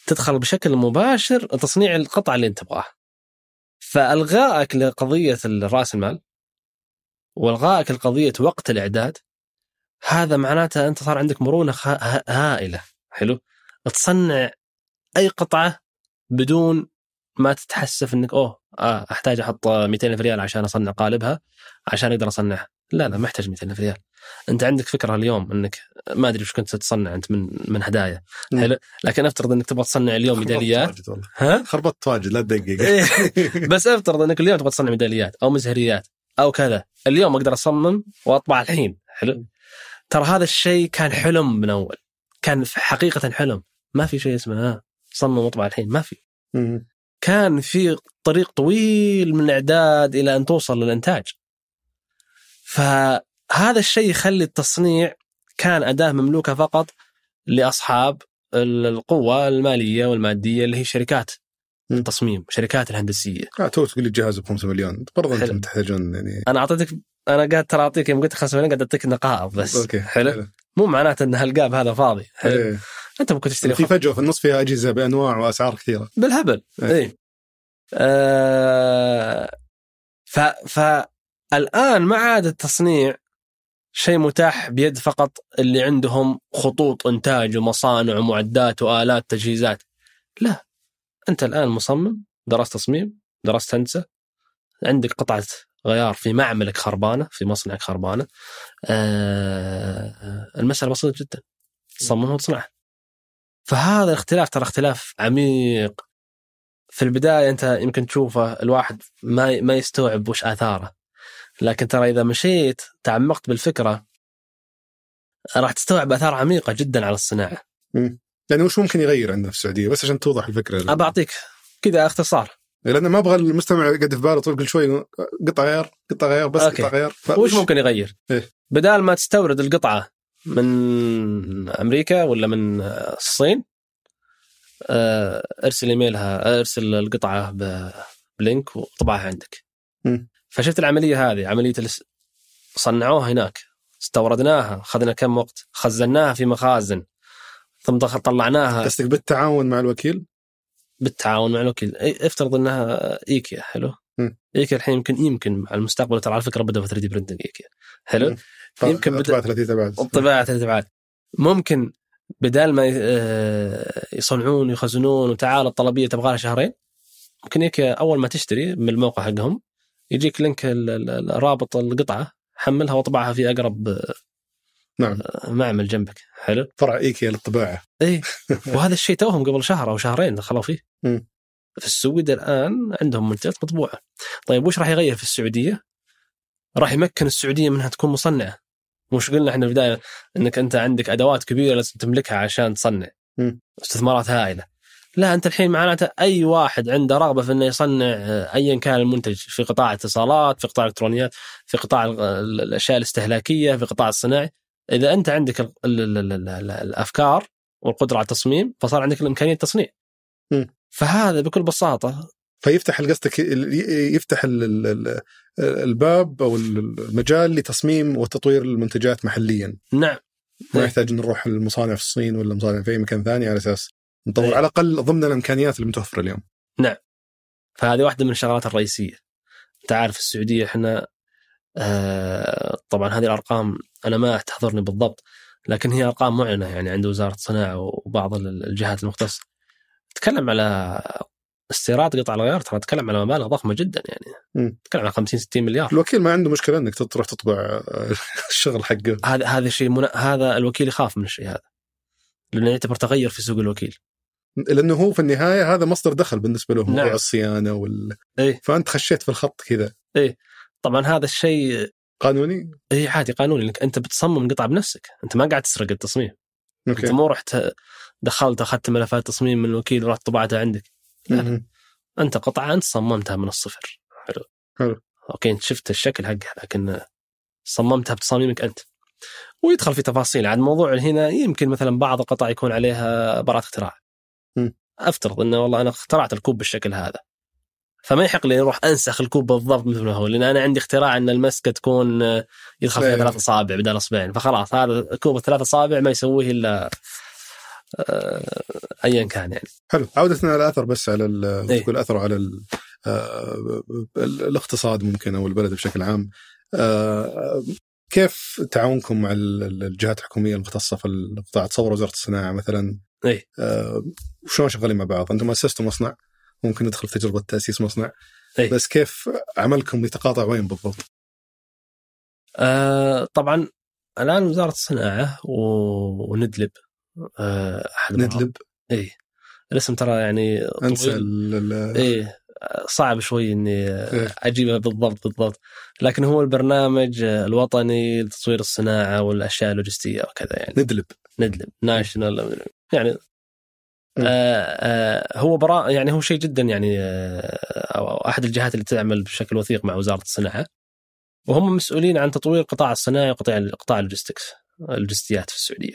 تدخل بشكل مباشر تصنيع القطعه اللي انت تبغاها فالغائك لقضيه راس المال والغائك لقضيه وقت الاعداد هذا معناته انت صار عندك مرونه خ- ه- هائله حلو تصنع اي قطعه بدون ما تتحسف انك اوه آه احتاج احط 200 ألف ريال عشان اصنع قالبها عشان اقدر اصنعها لا لا ما يحتاج 200 ألف ريال انت عندك فكره اليوم انك ما ادري وش كنت تصنع انت من من هدايا مم. يعني. حلو لكن افترض انك تبغى تصنع اليوم ميداليات ها خربطت واجد لا تدقق إيه. بس افترض انك اليوم تبغى تصنع ميداليات او مزهريات او كذا اليوم اقدر اصمم واطبع الحين حلو ترى هذا الشيء كان حلم من اول كان حقيقه حلم ما في شيء اسمه آه صمم واطبع الحين ما في مم. كان في طريق طويل من الاعداد الى ان توصل للانتاج. فهذا الشيء يخلي التصنيع كان اداه مملوكه فقط لاصحاب ال- القوه الماليه والماديه اللي هي شركات مم. التصميم، شركات الهندسيه. آه، تو تقول لي جهاز ب 5 مليون برضه حلو. انتم تحتاجون يعني انا اعطيتك انا قاعد ترى اعطيك يوم قلت 5 مليون قاعد اعطيك نقائض بس اوكي حلو مو معناته ان هالقاب هذا فاضي حلو إيه. انت ممكن تشتري في خط فجوه في النص فيها اجهزه بانواع واسعار كثيره بالهبل إيه. اي آه ف فالان ما عاد التصنيع شيء متاح بيد فقط اللي عندهم خطوط انتاج ومصانع ومعدات والات تجهيزات لا انت الان مصمم درست تصميم درست هندسه عندك قطعه غيار في معملك خربانه في مصنعك خربانه آه المساله بسيطه جدا تصممها وتصنعها فهذا الاختلاف ترى اختلاف عميق في البدايه انت يمكن تشوفه الواحد ما ما يستوعب وش اثاره لكن ترى اذا مشيت تعمقت بالفكره راح تستوعب اثار عميقه جدا على الصناعه يعني وش ممكن يغير عندنا في السعوديه بس عشان توضح الفكره ابى اعطيك كذا اختصار لان ما ابغى المستمع يقعد في باله طول كل شوي قطع غير قطع غير بس أوكي. قطع غير ف- وش ممكن يغير؟ إيه. بدال ما تستورد القطعه من امريكا ولا من الصين آه، ارسل ايميلها ارسل القطعه ب- بلينك وطبعها عندك. مم. فشفت العمليه هذه عمليه الاس- صنعوها هناك استوردناها اخذنا كم وقت خزناها في مخازن ثم دخل طلعناها قصدك بالتعاون مع الوكيل بالتعاون مع الوكيل إي- افترض انها ايكيا حلو مم. ايكيا الحين يمكن يمكن على المستقبل ترى على فكره بدأوا 3 دي برنتنج ايكيا حلو مم. يمكن بد- بدا 30 بعد الطباعه ثلاث ابعاد ممكن بدال ما ي- آه، يصنعون ويخزنون وتعال الطلبيه تبغى لها شهرين ممكن هيك اول ما تشتري من الموقع حقهم يجيك لينك ال- ال- ال- رابط القطعه حملها واطبعها في اقرب آه، نعم. معمل جنبك حلو فرع ايكيا للطباعه اي وهذا الشيء توهم قبل شهر او شهرين دخلوا فيه مم. في السويد الان عندهم منتجات مطبوعه طيب وش راح يغير في السعوديه؟ راح يمكن السعوديه منها تكون مصنعه وش قلنا احنا في البدايه انك انت عندك ادوات كبيره لازم تملكها عشان تصنع مم. استثمارات هائله لا انت الحين معناته اي واحد عنده رغبه في انه يصنع آه، ايا كان المنتج في قطاع اتصالات في قطاع الكترونيات في قطاع ال- ال- الاشياء الاستهلاكيه في قطاع الصناعي اذا انت عندك ال- ال- ال- ال- ال- الافكار والقدره على التصميم فصار عندك الامكانيه التصنيع مم. فهذا بكل بساطه فيفتح قصدك يفتح ال- ال- ال- الباب او المجال لتصميم وتطوير المنتجات محليا نعم ما إيه. يحتاج إن نروح للمصانع في الصين ولا مصانع في اي مكان ثاني على اساس نطور إيه. على الاقل ضمن الامكانيات اللي متوفره اليوم فهذه واحده من الشغلات الرئيسيه انت عارف السعوديه احنا آه طبعا هذه الارقام انا ما تحضرني بالضبط لكن هي ارقام معلنه يعني عند وزاره الصناعه وبعض ال- الجهات المختصه تتكلم على استيراد قطع الغيار ترى تتكلم على مبالغ ضخمه جدا يعني مم. تتكلم على 50 60 مليار الوكيل ما عنده مشكله انك تروح تطبع الشغل حقه هذا هذا الشيء منا... هذا الوكيل يخاف من الشيء هذا لانه يعتبر تغير في سوق الوكيل لانه هو في النهايه هذا مصدر دخل بالنسبه له موضوع نعم. الصيانه وال إيه. فانت خشيت في الخط كذا طبعا هذا الشيء قانوني هي إيه، عادي قانوني لانك انت بتصمم قطع بنفسك انت ما قاعد تسرق التصميم انت اوكي مو رحت دخلت اخذت ملفات تصميم من الوكيل ورحت طبعتها عندك لا. مهم. انت قطعه انت صممتها من الصفر حلو حلو. اوكي انت شفت الشكل حقها لكن صممتها بتصاميمك انت ويدخل في تفاصيل عن موضوع هنا يمكن مثلا بعض القطع يكون عليها براءة اختراع مم. افترض انه والله انا اخترعت الكوب بالشكل هذا فما يحق لي اروح انسخ الكوب بالضبط مثل ما هو لان انا عندي اختراع ان المسكه تكون آه، يدخل فيها إيه. ثلاث اصابع بدل اصبعين فخلاص هذا الكوب الثلاث اصابع ما يسويه الا آه، ايا كان يعني حلو عودتنا على الاثر بس على ال... إيه. تقول اثره على ال... آه، ال- الاقتصاد ممكن او البلد بشكل عام آه، كيف تعاونكم مع ال- ال- الجهات الحكوميه المختصه في القطاع اتصور وزاره الصناعه مثلا إيه. آه، وشلون شغالين مع بعض انتم اسستوا مصنع ممكن ندخل في تجربه تاسيس مصنع إيه. بس كيف عملكم يتقاطع وين بالضبط؟ آه، طبعا الان وزاره الصناعه و- وندلب آه، احد ندلب اي الاسم ترى يعني انسى طويل. ال- ال- ايه صعب شوي اني إيه. اجيبها بالضبط بالضبط لكن هو البرنامج الوطني لتطوير الصناعه والاشياء اللوجستيه وكذا يعني ندلب ندلب ناشونال يعني مم. آه آه هو برا يعني هو شيء جدا يعني آه أو- أو احد الجهات اللي تعمل بشكل وثيق مع وزاره الصناعه وهم مسؤولين عن تطوير قطاع الصناعي وقطاع قطاع اللوجستكس اللوجستيات في السعوديه.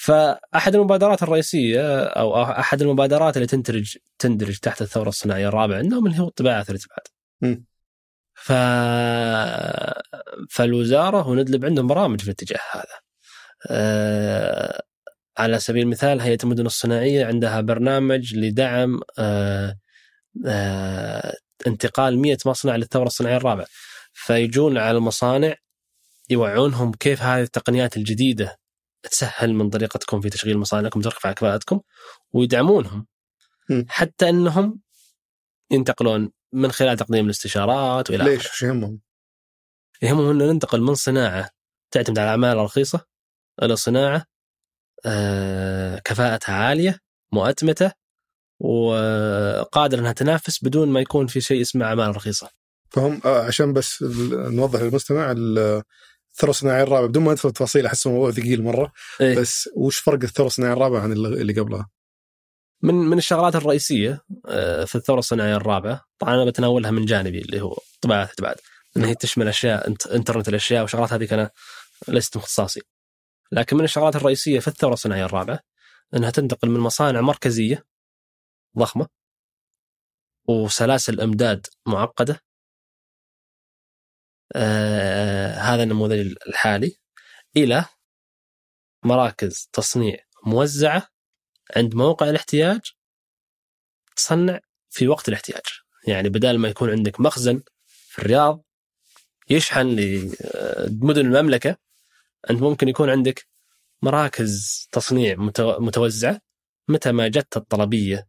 فاحد المبادرات الرئيسيه او احد المبادرات اللي تنتج تندرج تحت الثوره الصناعيه الرابعه عندهم اللي هو الطباعه ثلاث ابعاد. مم. ف فالوزاره وندلب عندهم برامج في الاتجاه هذا. آه، على سبيل المثال هيئه المدن الصناعيه عندها برنامج لدعم آه، آه، انتقال 100 مصنع للثوره الصناعيه الرابعه فيجون على المصانع يوعونهم كيف هذه التقنيات الجديده تسهل من طريقتكم في تشغيل مصانعكم وترفع كفاءتكم ويدعمونهم مم. حتى انهم ينتقلون من خلال تقديم الاستشارات والى ليش؟ وش يهمهم؟ يهمهم انه ننتقل من صناعه تعتمد على الاعمال الرخيصه الى صناعه آه، كفاءتها عاليه مؤتمته وقادره انها تنافس بدون ما يكون في شيء اسمه اعمال رخيصه. فهم آه، عشان بس ال- نوضح للمستمع ال- الثوره الصناعيه الرابعه بدون ما ندخل في تفاصيل احس الموضوع ثقيل مره إيه. بس وش فرق الثوره الصناعيه الرابعه عن اللي اللي قبلها؟ من من الشغلات الرئيسيه آه، في الثوره الصناعيه الرابعه طبعا انا بتناولها من جانبي اللي هو طباعه بعد ان هي تشمل اشياء إنت- انترنت الاشياء وشغلات هذه انا لست مختصاصي. لكن من الشغلات الرئيسيه في الثوره الصناعيه الرابعه انها تنتقل من مصانع مركزيه ضخمه وسلاسل امداد معقده آه هذا النموذج الحالي الى مراكز تصنيع موزعه عند موقع الاحتياج تصنع في وقت الاحتياج يعني بدل ما يكون عندك مخزن في الرياض يشحن لمدن المملكة أنت ممكن يكون عندك مراكز تصنيع متو- متوزعة متى ما جت الطلبية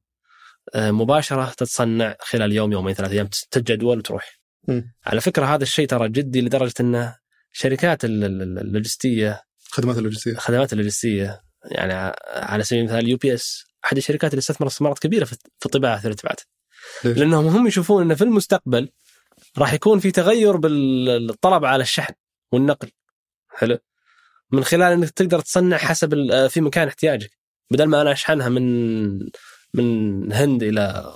آه، مباشرة تتصنع خلال يوم يومين ثلاثة أيام تتجدول وتروح م. على فكرة هذا الشيء ترى جدي لدرجة أنه شركات ال- ال- ال- اللوجستية خدمات اللوجستيه الخدمات اللوجستيه يعني ع- على سبيل المثال يو بي اس احد الشركات اللي استثمرت استثمارات كبيره في في الطباعه ثلاث ابعاد ليش؟ لانهم هم يشوفون انه في المستقبل راح يكون في تغير بالطلب على الشحن والنقل حلو من خلال انك تقدر تصنع حسب ال- آه، في مكان احتياجك بدل ما انا اشحنها من من الهند الى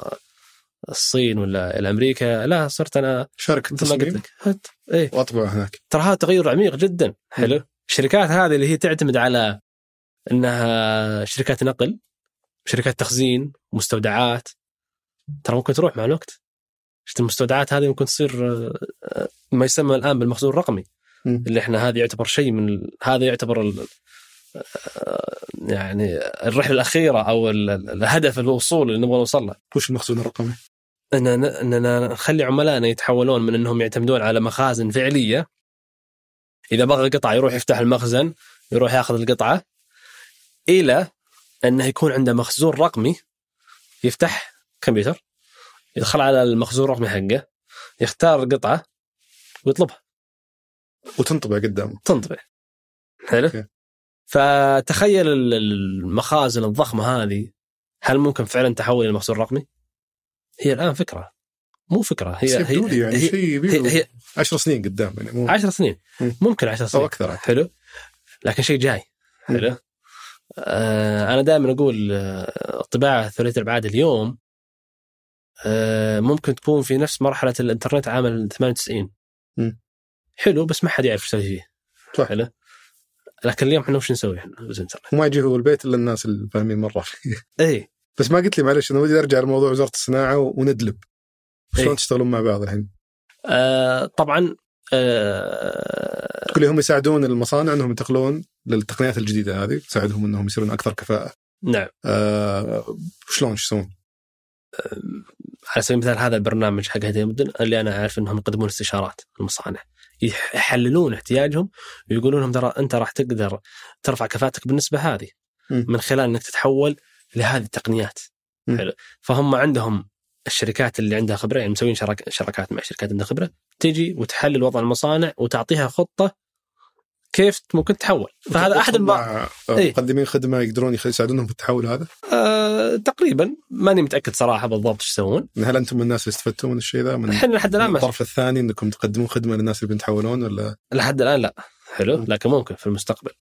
الصين ولا الى امريكا لا صرت انا شارك مثل ما قلت تصميم لك هت- ايه واطبع هناك ترى هذا تغير عميق جدا حلو الشركات هذه اللي هي تعتمد على انها شركات نقل شركات تخزين مستودعات ترى ممكن تروح مع الوقت شفت المستودعات هذه ممكن تصير آه، آه، ما يسمى الان بالمخزون الرقمي مم. اللي احنا هذا يعتبر شيء من ال- هذا يعتبر ال... آه، يعني الرحله الاخيره او ال- ال- الهدف الوصول اللي نبغى نوصل له وش المخزون الرقمي؟ اننا اننا نخلي عملائنا يتحولون من انهم يعتمدون على مخازن فعليه اذا بغى قطعه يروح يفتح المخزن يروح ياخذ القطعه الى انه يكون عنده مخزون رقمي يفتح كمبيوتر يدخل على المخزون الرقمي حقه يختار قطعه ويطلبها وتنطبع قدامه تنطبع حلو أوكي. فتخيل ال- المخازن الضخمه هذه هل ممكن فعلا تحول الى مخزون رقمي؟ هي الان فكره مو فكره بس هي يبدو لي هي يعني هي- شيء هي, يبيله هي 10 سنين قدام يعني مو 10 سنين مم. ممكن 10 سنين او اكثر حلو لكن شيء جاي مم. حلو آه انا دائما اقول آه، الطباعه ثلاثيه الابعاد اليوم آه ممكن تكون في نفس مرحله الانترنت عام 98 مم. حلو بس ما حد يعرف ايش يسوي فيه صح. حلو لكن اليوم احنا وش نسوي احنا بالانترنت وما يجي هو البيت الا الناس اللي فاهمين مره فيه اي بس ما قلت لي معلش انا ودي ارجع لموضوع وزاره الصناعه وندلب شلون إيه. تشتغلون مع بعض الحين؟ آه طبعا آه تقول لي هم يساعدون المصانع انهم ينتقلون للتقنيات الجديده هذه تساعدهم انهم يصيرون اكثر كفاءه نعم آه شلون ايش يسوون؟ على سبيل المثال هذا البرنامج حق هدي المدن اللي انا عارف انهم يقدمون استشارات للمصانع يح- يحللون احتياجهم ويقولون لهم ترى انت راح تقدر ترفع كفاءتك بالنسبه هذه مم. من خلال انك تتحول لهذه التقنيات مم. حلو فهم عندهم الشركات اللي عندها خبره يعني مسوين شراك- شراكات مع شركات عندها خبره تجي وتحلل وضع المصانع وتعطيها خطه كيف ممكن تتحول فهذا احد البعض مع إيه. آه، مقدمين خدمه يقدرون يخ- يساعدونهم في التحول هذا؟ آه، تقريبا ماني متاكد صراحه بالضبط ايش يسوون يعني هل انتم من الناس اللي استفدتوا من الشيء ذا؟ من احنا لحد الان من ما آه. الطرف الثاني انكم تقدمون خدمه للناس اللي بيتحولون ولا لحد الان لا حلو مم. لكن ممكن في المستقبل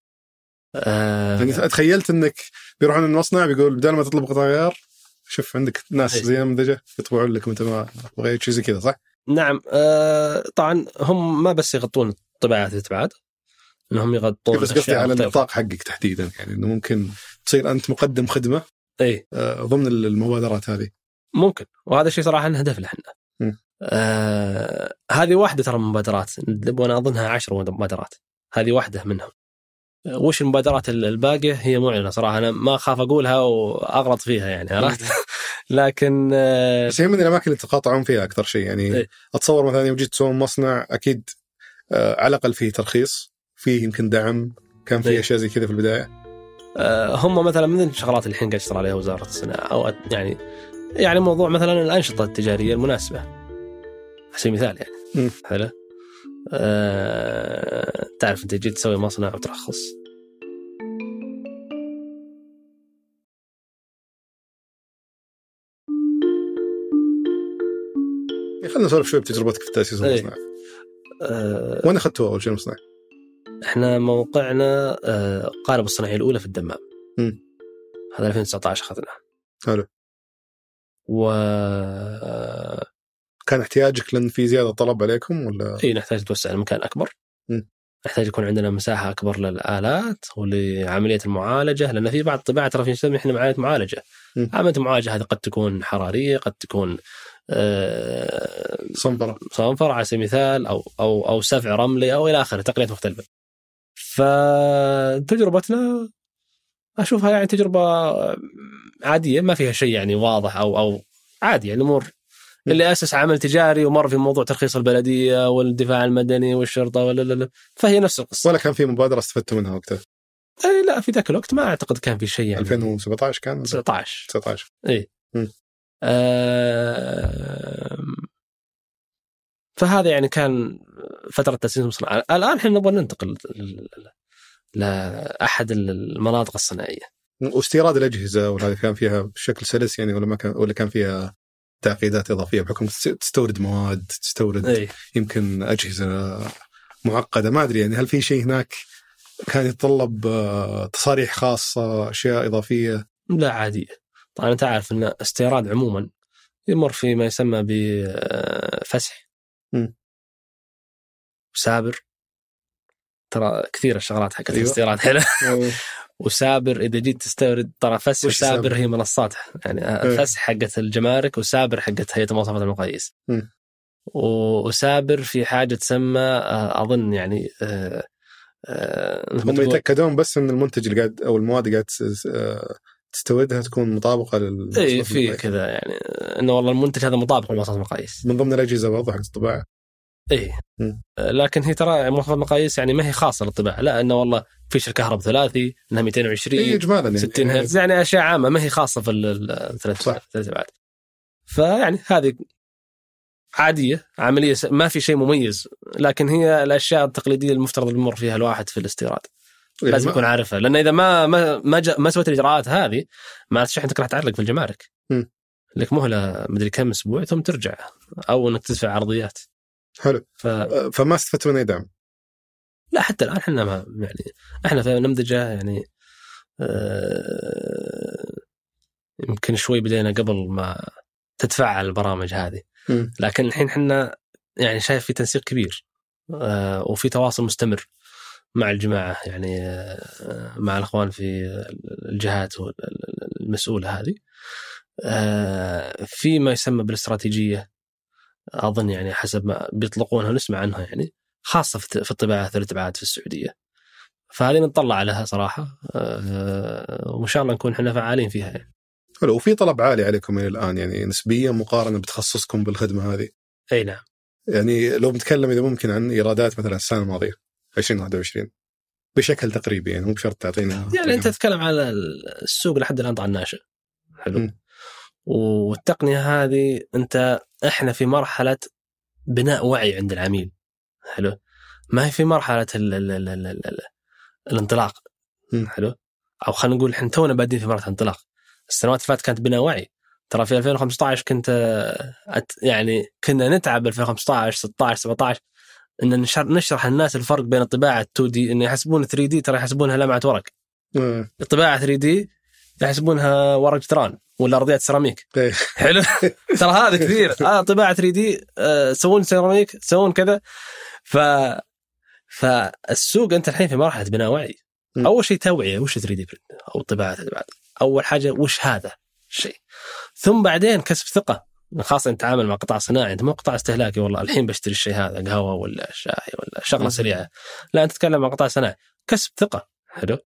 يعني آه تخيلت انك بيروحون المصنع بيقول بدل ما تطلب قطع غيار شوف عندك ناس إيه. زي نمذجه يطبعون لك وانت ما بغيت شيء زي كذا صح؟ نعم آه طبعا هم ما بس يغطون طباعات الابعاد انهم يغطون بس قصدي الأشياء على الطيفة. النطاق حقك تحديدا يعني انه ممكن تصير انت مقدم خدمه اي آه، ضمن المبادرات هذه إيه، ممكن وهذا الشيء صراحه هدفنا احنا مم. آه هذه واحده ترى من المبادرات ندلب وانا اظنها عشر مبادرات هذه واحده منهم آه، وش المبادرات ال- الباقيه هي معلنه صراحه انا ما اخاف اقولها واغلط فيها يعني عرفت لكن آه بس هي من الاماكن اللي تتقاطعون فيها اكثر شيء يعني إيه. اتصور مثلا يوم جيت تسوون مصنع اكيد آه، على الاقل فيه ترخيص فيه يمكن دعم كان إيه. فيه اشياء زي كذا في البدايه آه، هم مثلا من الشغلات اللي الحين قاعد تشتغل عليها وزاره الصناعه او أت- يعني يعني موضوع مثلا الانشطه التجاريه المناسبه على سبيل المثال يعني مم. حلو أه تعرف انت جيت تسوي مصنع وترخص خلينا إيه، نسولف شوي بتجربتك في تاسيس إيه. المصنع أه وين اخذتوا اول شيء المصنع؟ احنا موقعنا أه قارب الصناعيه الاولى في الدمام مم. هذا 2019 اخذناه حلو. و كان احتياجك لان في زياده طلب عليكم ولا اي إيه، نحتاج نتوسع المكان اكبر مم. نحتاج يكون عندنا مساحه اكبر للالات ولعمليه المعالجه لان في بعض الطباعه ترى في نسمي احنا عمليه معالجه مم. عمليه المعالجه هذه قد تكون حراريه قد تكون آه، صنفره؟ صنفر على سبيل المثال او او او سفع رملي او الى اخره تقنيات مختلفه. فتجربتنا اشوفها يعني تجربه عاديه ما فيها شيء يعني واضح او او عادي يعني الامور اللي اسس عمل تجاري ومر في موضوع ترخيص البلديه والدفاع المدني والشرطه ولا لا لا فهي نفس القصه. ولا كان في مبادره استفدتوا منها وقتها؟ اي لا في ذاك الوقت ما اعتقد كان في شيء يعني 2017 كان ولا 19 19 آم، آه، فهذا يعني كان فترة تأسيس المصنع الآن احنا نبغى ننتقل ل- ل- لأحد المناطق الصناعية واستيراد الاجهزه ولا كان فيها بشكل سلس يعني ولا ما كان ولا كان فيها تعقيدات اضافيه بحكم تس- تستورد مواد تستورد أي. يمكن اجهزه معقده ما ادري يعني هل في شيء هناك كان يتطلب آه، تصاريح خاصه اشياء اضافيه لا عادية طبعا أنت عارف أن استيراد عموما يمر في ما يسمى بفسح مم. وسابر ترى كثير الشغلات حقت أيوة. الاستيراد هنا وسابر اذا جيت تستورد ترى فسح وش وسابر سابر؟ هي منصات يعني إيه. فسح حقت الجمارك وسابر حقت هيئه مواصفات المقاييس مم. و- وسابر في حاجه تسمى آه، اظن يعني آه، آه، مثل ما هم تقول- يتاكدون بس ان المنتج اللي قاعد او المواد اللي قاعد تس- آه، تستوردها تكون مطابقه لل اي إيه، في كذا يعني آه، انه والله المنتج هذا مطابق لمواصفات المقاييس من ضمن الاجهزه برضه حق الطباعه اي مم. لكن هي ترى مواصفات المقاييس يعني ما هي خاصه للطباعه لا انه والله فيش الكهرب ثلاثي انها 220 اي اجمالا يعني 60 هرتز يعني اشياء عامه ما هي خاصه في ال- الثلاث صح. ثلاث ابعاد فيعني هذه عاديه عمليه س- ما في شيء مميز لكن هي الاشياء التقليديه المفترض يمر فيها الواحد في الاستيراد يعني لازم ما- يكون عارفها لان اذا ما ما ما, جا ما سويت الاجراءات هذه ما شحنتك راح تعلق في الجمارك مم. لك مهله مدري كم اسبوع ثم ترجع او انك تدفع عرضيات حلو ف آه، فما استفدت من اي دعم لا حتى الان احنا ما يعني احنا في نمذجه يعني آه، يمكن شوي بدينا قبل ما تتفعل البرامج هذه مم. لكن الحين احنا يعني شايف في تنسيق كبير آه، وفي تواصل مستمر مع الجماعه يعني آه، مع الاخوان في الجهات المسؤوله هذه آه، في ما يسمى بالاستراتيجيه اظن يعني حسب ما بيطلقونها ونسمع عنها يعني خاصه في في الطباعه ثلاث ابعاد في السعوديه فهذه نتطلع لها صراحه آه، وان شاء الله نكون احنا فعالين فيها يعني. حلو وفي طلب عالي عليكم الى الان يعني نسبيا مقارنه بتخصصكم بالخدمه هذه اي نعم يعني لو بنتكلم اذا ممكن عن ايرادات مثلا السنه الماضيه 2021 بشكل تقريبي يعني مو بشرط تعطينا يعني انت رقم. تتكلم على السوق لحد الان طبعا ناشئ حلو مم. والتقنيه هذه انت احنا في مرحله بناء وعي عند العميل حلو ما هي في مرحله ال ال ال ال ال الانطلاق مم. حلو او خلينا نقول احنا تونا بادين في مرحله الانطلاق السنوات اللي فاتت كانت بناء وعي ترى في 2015 كنت آه، أت- يعني كنا نتعب 2015 16 17 ان نشر- نشرح للناس الفرق بين الطباعه 2 دي ان يحسبون 3 دي ترى يحسبونها لمعه ورق آه، الطباعه 3 دي يحسبونها ورق جدران ولا ارضيات سيراميك إيه. حلو ترى هذا كثير آه طباعه 3 دي آه سوون سيراميك سوون كذا ف فالسوق انت الحين في مرحله بناء وعي م. اول شيء توعيه وش 3 دي برنت او طباعه الابعاد اول حاجه وش هذا الشيء ثم بعدين كسب ثقه خاصه انت تعامل مع قطاع صناعي انت مو قطاع استهلاكي والله الحين بشتري الشيء هذا قهوه ولا شاي ولا شغله م. سريعه لا انت تتكلم مع قطاع صناعي كسب ثقه حلو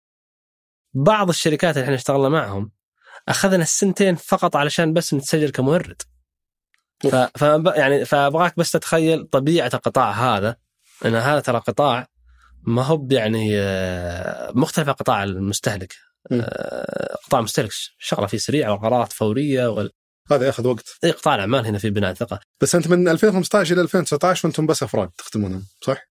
بعض الشركات اللي احنا اشتغلنا معهم اخذنا السنتين فقط علشان بس نتسجل كمورد ف... ف... يعني فابغاك بس تتخيل طبيعه القطاع هذا ان هذا ترى قطاع ما هو يعني آه، مختلف عن قطاع المستهلك مم. آه، قطاع المستهلك شغله فيه سريعه والقرارات فوريه وال... هذا ياخذ وقت إيه، قطاع الاعمال هنا في بناء ثقه بس انت من 2015 الى 2019 وانتم بس افراد تخدمونهم صح؟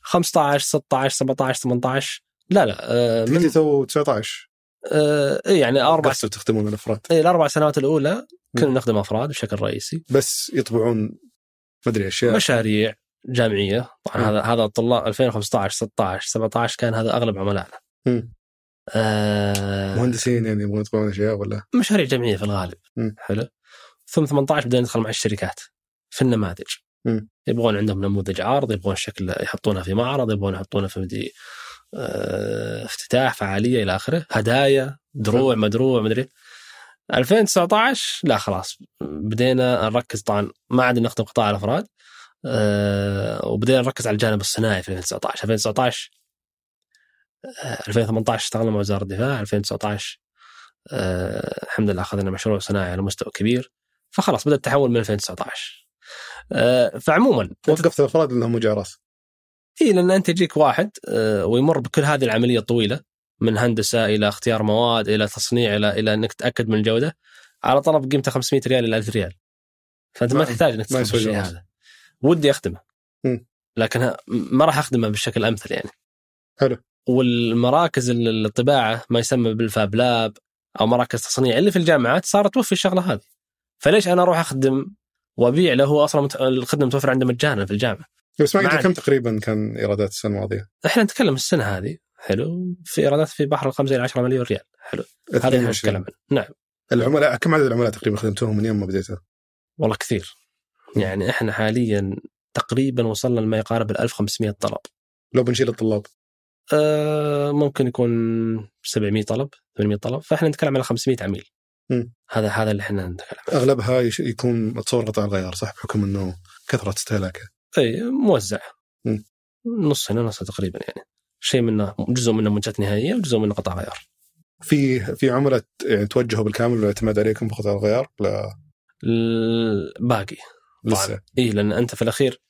15 16 17 18 لا لا آه، من من تو 19 آه، إيه، يعني اربع قصدوا تخدمون الافراد إيه، الاربع سنوات الاولى كنا مم. نخدم افراد بشكل رئيسي بس يطبعون ما ادري اشياء مشاريع جامعيه طبعا مم. هذا هذا الطلاب 2015 16 17 كان هذا اغلب عملائنا مم. آه أمم. مهندسين يعني يبغون يطبعون اشياء ولا مشاريع جامعيه في الغالب مم. حلو ثم 18 بدأنا ندخل مع الشركات في النماذج مم. يبغون عندهم نموذج عارض يبغون شكل يحطونه في معرض يبغون يحطونه في مدري آه، افتتاح فعاليه الى اخره هدايا دروع مدروع مدري 2019 لا خلاص بدينا نركز طبعا ما عاد نخدم قطاع الافراد آه، وبدينا نركز على الجانب الصناعي في 2019 2019 آه، 2018 اشتغلنا مع وزاره الدفاع 2019 آه، الحمد لله اخذنا مشروع صناعي على مستوى كبير فخلاص بدا التحول من 2019 آه، فعموما وقفت الافراد لانهم وجع راس اي لان انت يجيك واحد آه، ويمر بكل هذه العمليه الطويله من هندسه الى اختيار مواد الى تصنيع الى الى انك تاكد من الجوده على طلب قيمته 500 ريال الى 1000 ريال فانت ما, ما- تحتاج انك نعم. ما تسوي يسوي الشيء جواز. هذا ودي اخدمه مم. لكن ه- ما راح اخدمه بالشكل الامثل يعني حلو. والمراكز ال- الطباعه ما يسمى بالفاب لاب او مراكز تصنيع اللي في الجامعات صارت توفي الشغله هذه فليش انا اروح اخدم وابيع له هو اصلا مت- الخدمه متوفره عنده مجانا في الجامعه بس ما ما قلت عاد. كم تقريبا كان ايرادات السنه الماضيه؟ احنا نتكلم السنه هذه حلو في ايرادات في بحر الخمسه الى 10 مليون ريال حلو هذا اللي احنا 22. نتكلم عنه نعم العملاء كم عدد العملاء تقريبا خدمتوهم من يوم ما بديتها؟ والله كثير يعني احنا حاليا تقريبا وصلنا لما يقارب ال 1500 طلب لو بنشيل الطلاب آه، ممكن يكون 700 طلب 800 طلب فاحنا نتكلم على 500 عميل مم. هذا هذا اللي احنا نتكلم عنه اغلبها يش- يكون اتصور قطع الغيار صح بحكم انه كثره استهلاكه اي إيه، موزع مم. نص هنا نص تقريبا يعني شيء منه جزء منه منتجات نهائيه وجزء منه قطع غيار في في عملاء يعني توجهوا بالكامل والاعتماد عليكم بقطع الغيار لا الباقي لسه اي لان انت إيه، في الاخير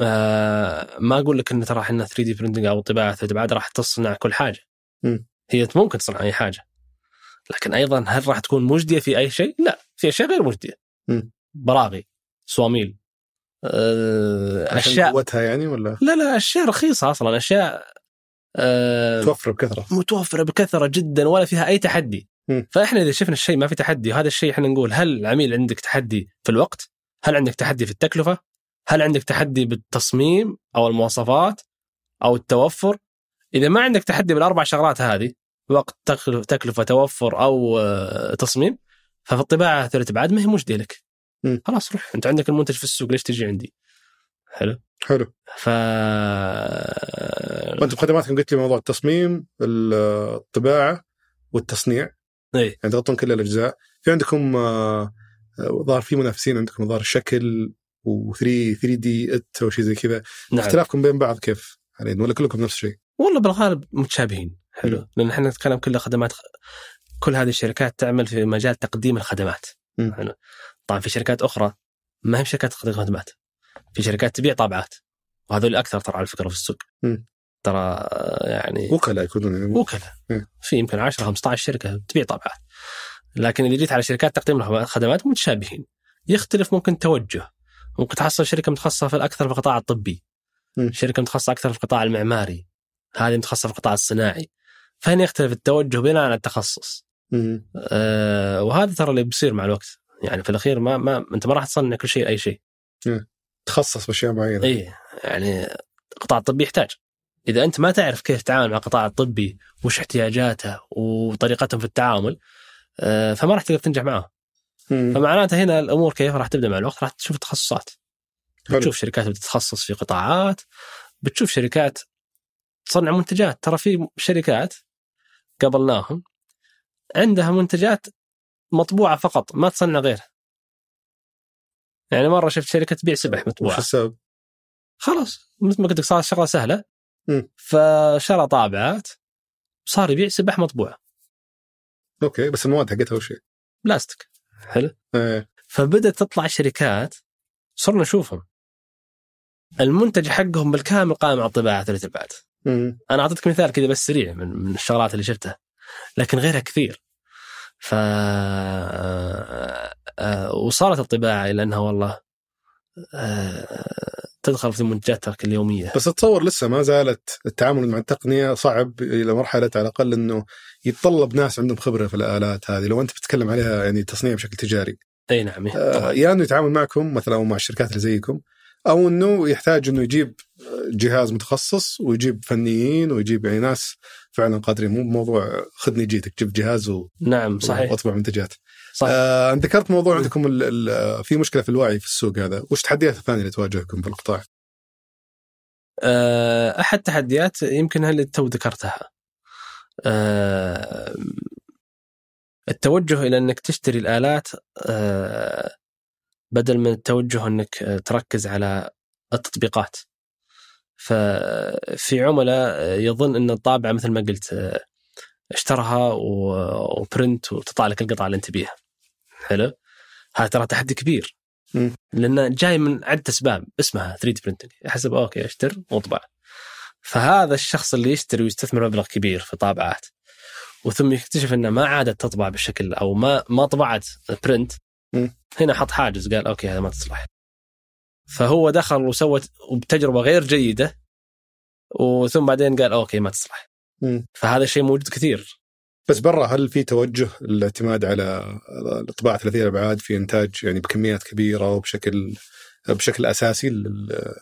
آه ما اقول لك ان ترى احنا 3 دي برنتنج او طباعه ثلاث ابعاد راح تصنع كل حاجه مم. هي ممكن تصنع اي حاجه لكن ايضا هل راح تكون مجديه في اي شيء؟ لا في اشياء غير مجديه مم. براغي صواميل آه عشان اشياء قوتها يعني ولا لا لا اشياء رخيصه اصلا اشياء آه توفر بكثره متوفره بكثره جدا ولا فيها اي تحدي مم. فاحنا اذا شفنا الشيء ما في تحدي وهذا الشيء احنا نقول هل العميل عندك تحدي في الوقت؟ هل عندك تحدي في التكلفه؟ هل عندك تحدي بالتصميم او المواصفات او التوفر؟ اذا ما عندك تحدي بالاربع شغلات هذه وقت تكل- تكلفه توفر او آه، تصميم ففي الطباعه ثلاث ابعاد ما هي مجديه لك. مم. خلاص روح انت عندك المنتج في السوق ليش تجي عندي؟ حلو حلو ف وانت بخدماتكم قلت لي موضوع التصميم الطباعه والتصنيع ايه يعني تغطون كل الاجزاء في عندكم آه، آه، ظهر في منافسين عندكم ظهر شكل و3 3 دي ات او شيء زي كذا نعم اختلافكم بين بعض كيف حاليا ولا كلكم نفس الشيء؟ والله بالغالب متشابهين حلو مم. لان احنا نتكلم كلها خدمات كل هذه الشركات تعمل في مجال تقديم الخدمات مم. حلو طبعا في شركات اخرى ما هي شركات تقديم خدمات في شركات تبيع طابعات وهذول اكثر ترى على فكره في السوق مم. ترى آه، يعني وكلاء يكونون يعني وكلاء مم. في يمكن 10 15 شركه تبيع طابعات لكن اذا جيت على شركات تقديم الخدمات متشابهين يختلف ممكن التوجه ممكن تحصل شركه متخصصه في الاكثر في القطاع الطبي مم. شركه متخصصه اكثر في القطاع المعماري هذه متخصصه في القطاع الصناعي فهنا يختلف التوجه بناء على التخصص مم. أه وهذا ترى اللي بيصير مع الوقت يعني في الاخير ما ما انت ما راح تصنع كل شيء اي شيء تخصص باشياء معينه اي يعني القطاع الطبي يحتاج اذا انت ما تعرف كيف تتعامل مع القطاع الطبي وش احتياجاته وطريقتهم في التعامل آه، فما راح تقدر تنجح معاه مم. فمعناته هنا الامور كيف راح تبدا مع الوقت راح تشوف التخصصات حلو. بتشوف شركات بتتخصص في قطاعات بتشوف شركات تصنع منتجات ترى في شركات قابلناهم عندها منتجات مطبوعه فقط ما تصنع غيرها يعني مره شفت شركه تبيع سبح مطبوعه وش السبب؟ خلاص مثل ما قلت لك صارت شغله سهله مم. فشرى طابعات صار يبيع سباح مطبوعه اوكي بس المواد حقتها وش هي؟ بلاستيك حلو إيه. فبدات تطلع شركات صرنا نشوفهم المنتج حقهم بالكامل قائم على الطباعه ثلاث ابعاد مم. انا اعطيتك مثال كذا بس سريع من, من الشغلات اللي شفتها لكن غيرها كثير ف آه، آه، وصارت الطباعه الى انها والله آه، تدخل في منتجات ترك اليوميه بس اتصور لسه ما زالت التعامل مع التقنيه صعب الى مرحله على الاقل انه يتطلب ناس عندهم خبره في الالات هذه لو انت بتتكلم عليها يعني تصنيع بشكل تجاري اي نعم إيه، آه، طبعاً. يا انه يتعامل معكم مثلا او مع الشركات اللي زيكم او انه يحتاج انه يجيب جهاز متخصص ويجيب فنيين ويجيب يعني ناس فعلا قادرين مو بموضوع خذني جيتك جيب جهاز و... نعم صحيح واطبع منتجات صحيح آه أنت ذكرت موضوع عندكم ال... ال... آه، في مشكله في الوعي في السوق هذا وش التحديات الثانيه اللي تواجهكم في القطاع آه، احد التحديات يمكن اللي تو ذكرتها آه، التوجه الى انك تشتري الالات آه، بدل من التوجه انك آه، تركز على التطبيقات ففي عملاء آه، يظن ان الطابعه مثل ما قلت آه، اشترها و- وبرنت وتطلع لك القطعه اللي انت بيها حلو هذا ترى تحدي كبير مم. لانه جاي من عده اسباب اسمها 3 دي برنتنج يحسب اوكي اشتر واطبع فهذا الشخص اللي يشتري ويستثمر مبلغ كبير في طابعات وثم يكتشف انه ما عادت تطبع بالشكل او ما ما طبعت برنت مم. هنا حط حاجز قال اوكي هذا ما تصلح فهو دخل وسوى بتجربه غير جيده وثم بعدين قال اوكي ما تصلح مم. فهذا الشيء موجود كثير بس برا هل في توجه الاعتماد على الطباعه ثلاثيه الابعاد في انتاج يعني بكميات كبيره وبشكل بشكل اساسي لل...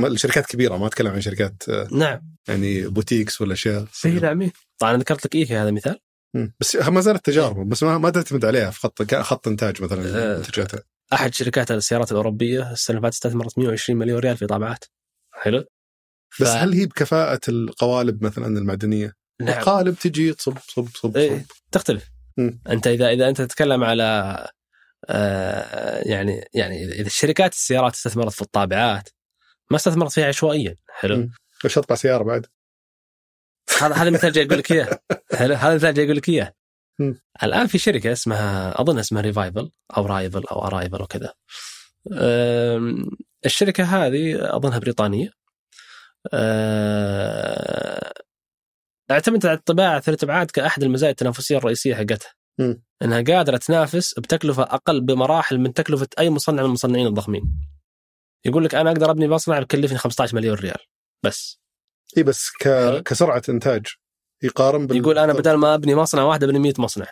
الشركات كبيره ما اتكلم عن شركات آه، نعم يعني بوتيكس ولا اشياء اي نعم إيه. طبعا أنا ذكرت لك ايكيا هذا مثال مم. بس ما زالت تجارب بس ما, ما تعتمد عليها في خط خط انتاج مثلا آه. منتجاتها احد شركات السيارات الاوروبيه السنه اللي فاتت استثمرت 120 مليون ريال في طابعات حلو بس هل هي بكفاءه القوالب مثلا المعدنيه؟ نعم قالب تجي تصب صب صب صب إيه، تختلف مم. انت اذا اذا انت تتكلم على آه، يعني يعني اذا الشركات السيارات استثمرت في الطابعات ما استثمرت فيها عشوائيا حلو مم. بس اطبع سياره بعد هذا هذا مثال جاي اقول لك اياه حلو هذا مثال جاي اقول لك اياه مم. الان في شركه اسمها اظن اسمها ريفايفل او رايفل او ارايفل وكذا آم، الشركه هذه اظنها بريطانيه آه، اعتمدت على الطباعه ثلاث ابعاد كاحد المزايا التنافسيه الرئيسيه حقتها مم. انها قادره تنافس بتكلفه اقل بمراحل من تكلفه اي مصنع من المصنعين الضخمين. يقول لك انا اقدر ابني مصنع بكلفني 15 مليون ريال بس اي بس ك... حلو. كسرعه انتاج يقارن بال... يقول انا بدل ما ابني مصنع واحد ابني 100 مصنع.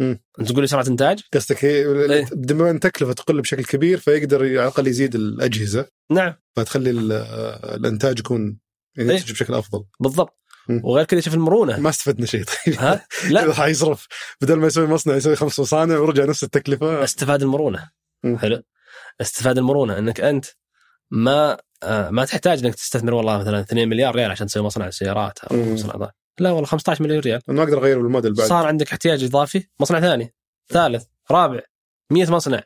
مم. انت تقول لي سرعه انتاج؟ قصدك هي- إيه. بما ان تكلفه تقل بشكل كبير فيقدر على الاقل يزيد الاجهزه نعم فتخلي ال- الانتاج يكون يعني إيه. ينتج بشكل افضل بالضبط. مم. وغير كذا شوف المرونه ما استفدنا شيء طيب ها؟ لا حيصرف بدل ما يسوي مصنع يسوي خمس مصانع ورجع نفس التكلفه استفاد المرونه. مم. حلو. استفاد المرونه انك انت ما آه ما تحتاج انك تستثمر والله مثلا 2 مليار ريال عشان تسوي مصنع سيارات او مم. مصنع لا والله 15 مليون ريال ما اقدر اغير الموديل بعد صار عندك احتياج اضافي مصنع ثاني ثالث رابع 100 مصنع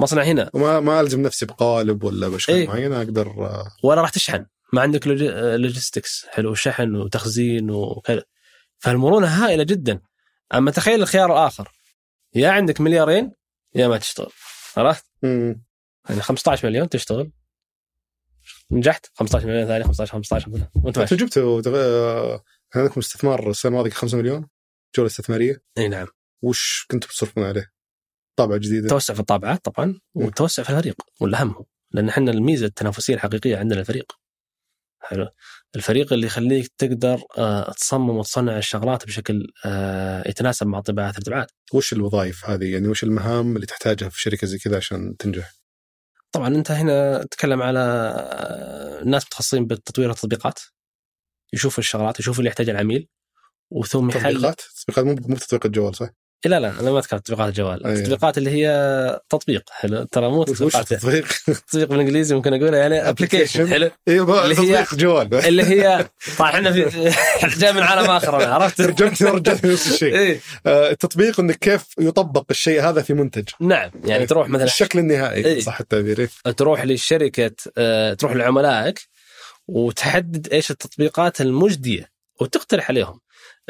مصنع هنا وما ما الزم نفسي بقالب ولا باشكال إيه. معينه اقدر آه، ولا راح تشحن ما عندك لوجي- لوجيستكس حلو شحن وتخزين وكذا فالمرونه هائله جدا اما تخيل الخيار الاخر يا عندك مليارين يا ما تشتغل عرفت؟ مم. يعني 15 مليون تشتغل نجحت 15 مليون ثاني 15 15 مليون. وانت انتوا ماشي جبتوا آه، كان عندكم استثمار السنه الماضيه 5 مليون جوله استثماريه اي نعم وش كنتوا بتصرفون عليه؟ طابعه جديده توسع في الطابعات طبعا وتوسع في الفريق والاهم هو لان احنا الميزه التنافسيه الحقيقيه عندنا الفريق حلو الفريق اللي يخليك تقدر آه، تصمم وتصنع الشغلات بشكل آه، يتناسب مع طباعات الابتعاد وش الوظائف هذه يعني وش المهام اللي تحتاجها في شركه زي كذا عشان تنجح؟ طبعا انت هنا تتكلم على آه، ناس متخصصين بتطوير التطبيقات يشوفوا الشغلات يشوفوا اللي يحتاجه العميل وثم يحل تطبيقات تطبيقات مو مو تطبيق الجوال صح؟ لا لا انا ما اتكلم عن تطبيقات الجوال أيوة. التطبيقات اللي هي تطبيق حلو ترى مو وش تطبيقات التطبيق؟ تطبيق بالانجليزي ممكن اقولها يعني ابلكيشن Application. حلو ايوه اللي هي- تطبيق جوال اللي هي طبعا احنا في جاي من عالم اخر انا عرفت؟ ترجمت ورجعت نفس الشيء ايه آه، التطبيق انك كيف يطبق الشيء هذا في منتج نعم يعني تروح مثلا أيوه. الشكل النهائي إيه. صح التعبير إيه. تروح لشركه آه، تروح لعملائك وتحدد ايش التطبيقات المجديه وتقترح عليهم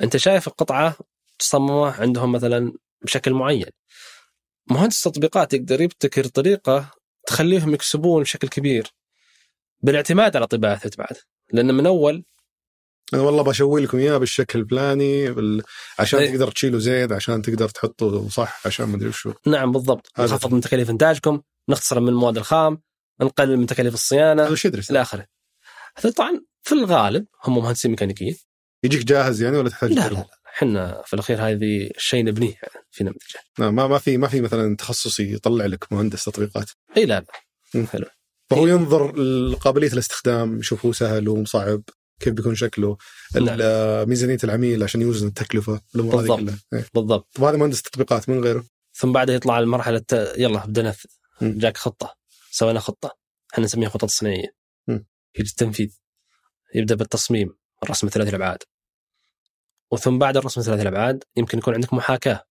انت شايف القطعه تصممه عندهم مثلا بشكل معين مهندس التطبيقات يقدر يبتكر طريقه تخليهم يكسبون بشكل كبير بالاعتماد على طباعه الابتعاد لان من اول انا والله بشوي لكم اياه بالشكل الفلاني بال... عشان إيه. تقدر تشيله زين عشان تقدر تحطه صح عشان ما ادري شو نعم بالضبط هذا نخفض من تكاليف انتاجكم نختصر من المواد الخام نقلل من تكاليف الصيانه هذا شو ادري الى اخره هذا طبعا في الغالب هم مهندسين ميكانيكيين يجيك جاهز يعني ولا تحتاج لا لا تجربة؟ لا احنا في الاخير هذه شيء نبنيه يعني في نمذجه لا، ما ما في ما في مثلا تخصصي يطلع لك مهندس تطبيقات اي لا لا مم. حلو فهو إيه. ينظر لقابليه الاستخدام يشوف هو سهل وهو صعب كيف بيكون شكله ال- نعم. آه، ميزانيه العميل عشان يوزن التكلفه الامور هذه بالضبط. كلها إيه. بالضبط طب هذا مهندس تطبيقات من غيره ثم بعدها يطلع على المرحله الت- يلا بدنا ننفذ مم. جاك خطه سوينا خطه احنا نسميها خطط صناعيه مم. يجي التنفيذ يبدا بالتصميم الرسم ثلاث الابعاد وثم بعد الرسم ثلاث الابعاد يمكن يكون عندك محاكاه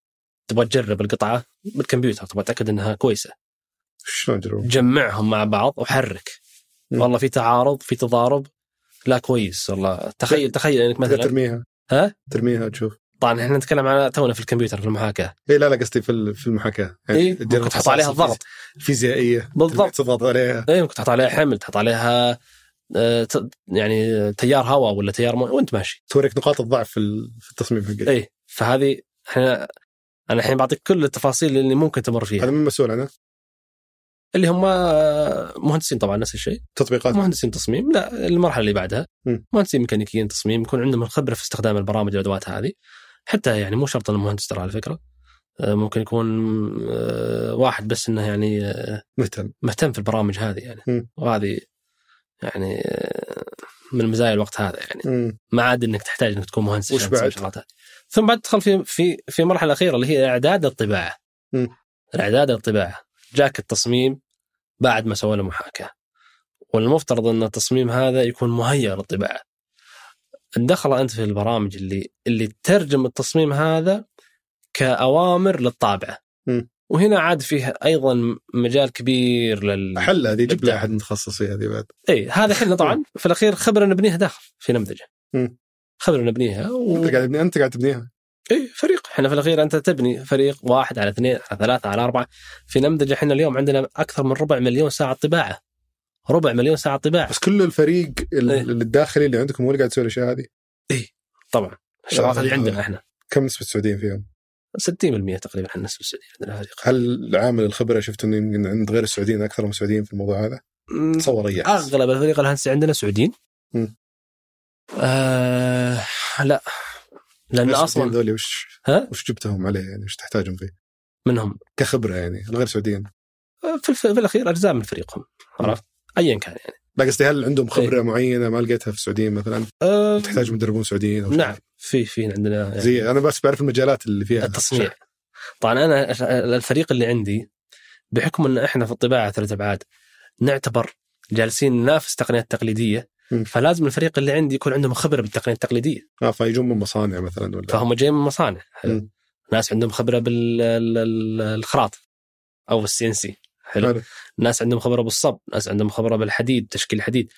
تبغى تجرب القطعه بالكمبيوتر تبغى تتاكد انها كويسه شلون تجربه؟ جمعهم مع بعض وحرك مم. والله في تعارض في تضارب لا كويس والله تخيل تخيل انك تقدر مثلا ترميها ها؟ ترميها تشوف طبعا احنا نتكلم على تونا في الكمبيوتر في المحاكاه اي لا لا قصدي في ال- في المحاكاه اي تجرب إيه، ممكن تحط خصائص عليها الضغط فيزيائيه بالضبط. تضغط عليها اي إيه، ممكن تحط عليها حمل تحط عليها آه، ت- يعني تيار هواء ولا تيار ماء وانت ماشي توريك نقاط الضعف في ال- في التصميم حقك اي فهذه احنا انا الحين بعطيك كل التفاصيل اللي ممكن تمر هذا فيها من مسؤول عنه اللي هم آه، مهندسين طبعا نفس الشيء تطبيقات مهندسين تصميم لا المرحله اللي بعدها مم. مهندسين ميكانيكيين تصميم يكون عندهم الخبره في استخدام البرامج والادوات هذه حتى يعني مو شرط انه مهندس ترى على فكره آه، ممكن يكون آه، واحد بس انه يعني آه، مهتم مهتم في البرامج هذه يعني مم. وهذه يعني آه، من مزايا الوقت هذا يعني مم. ما عاد انك تحتاج انك تكون مهندس وش عشان تسوي بعد؟ الشغلات هذه. ثم بعد تدخل في في في المرحله الاخيره اللي هي اعداد الطباعه مم. اعداد الطباعه جاك التصميم بعد ما سوينا محاكاه والمفترض ان التصميم هذا يكون مهيئ للطباعه دخل انت في البرامج اللي اللي تترجم التصميم هذا كاوامر للطابعه م. وهنا عاد فيه ايضا مجال كبير لل حل هذه جيب لها إبداع. احد متخصص فيها هذه بعد اي هذا احنا طبعا في الاخير خبره نبنيها داخل في نمذجه مم. خبره نبنيها و... انت قاعد تبني انت قاعد تبنيها اي إيه، فريق احنا في الاخير انت تبني فريق واحد على اثنين على ثلاثه على اربعه في نمذجه احنا اليوم عندنا اكثر من ربع مليون ساعه طباعه ربع مليون ساعه طباعه بس كل الفريق ال- إيه. الداخلي اللي عندكم هو اللي قاعد يسوي الاشياء هذه طبعا الشغلات هذه عندنا احنا كم نسبه السعوديين فيهم؟ 60% تقريبا احنا نسبه السعوديين عندنا فريق هل عامل الخبره شفت انه يمكن عند غير السعوديين اكثر من السعوديين في الموضوع هذا؟ مم، تصور اي أحد. اغلب الفريق الهندسي عندنا سعوديين مم. آه لا لان السعوديين اصلا ذولي وش ها؟ وش جبتهم عليه يعني وش تحتاجهم فيه؟ منهم كخبره يعني الغير سعوديين في, الف... في الاخير اجزاء من فريقهم عرفت ايا كان يعني لا قصدي هل عندهم خبره إيه. معينه ما لقيتها في السعوديين مثلا أه... تحتاج مدربون سعوديين أو شيء؟ نعم في في عندنا يعني زي انا بس بعرف المجالات اللي فيها التصنيع طبعا انا الفريق اللي عندي بحكم ان احنا في الطباعه ثلاث ابعاد نعتبر جالسين ننافس التقنيات التقليديه مم. فلازم الفريق اللي عندي يكون عندهم خبره بالتقنيه التقليديه آه فيجون من مصانع مثلا ولا فهم جايين من مصانع حلو. مم. ناس عندهم خبره بالخراط او السي ان سي حلو حلو. ناس عندهم خبره بالصب ناس عندهم خبره بالحديد تشكيل الحديد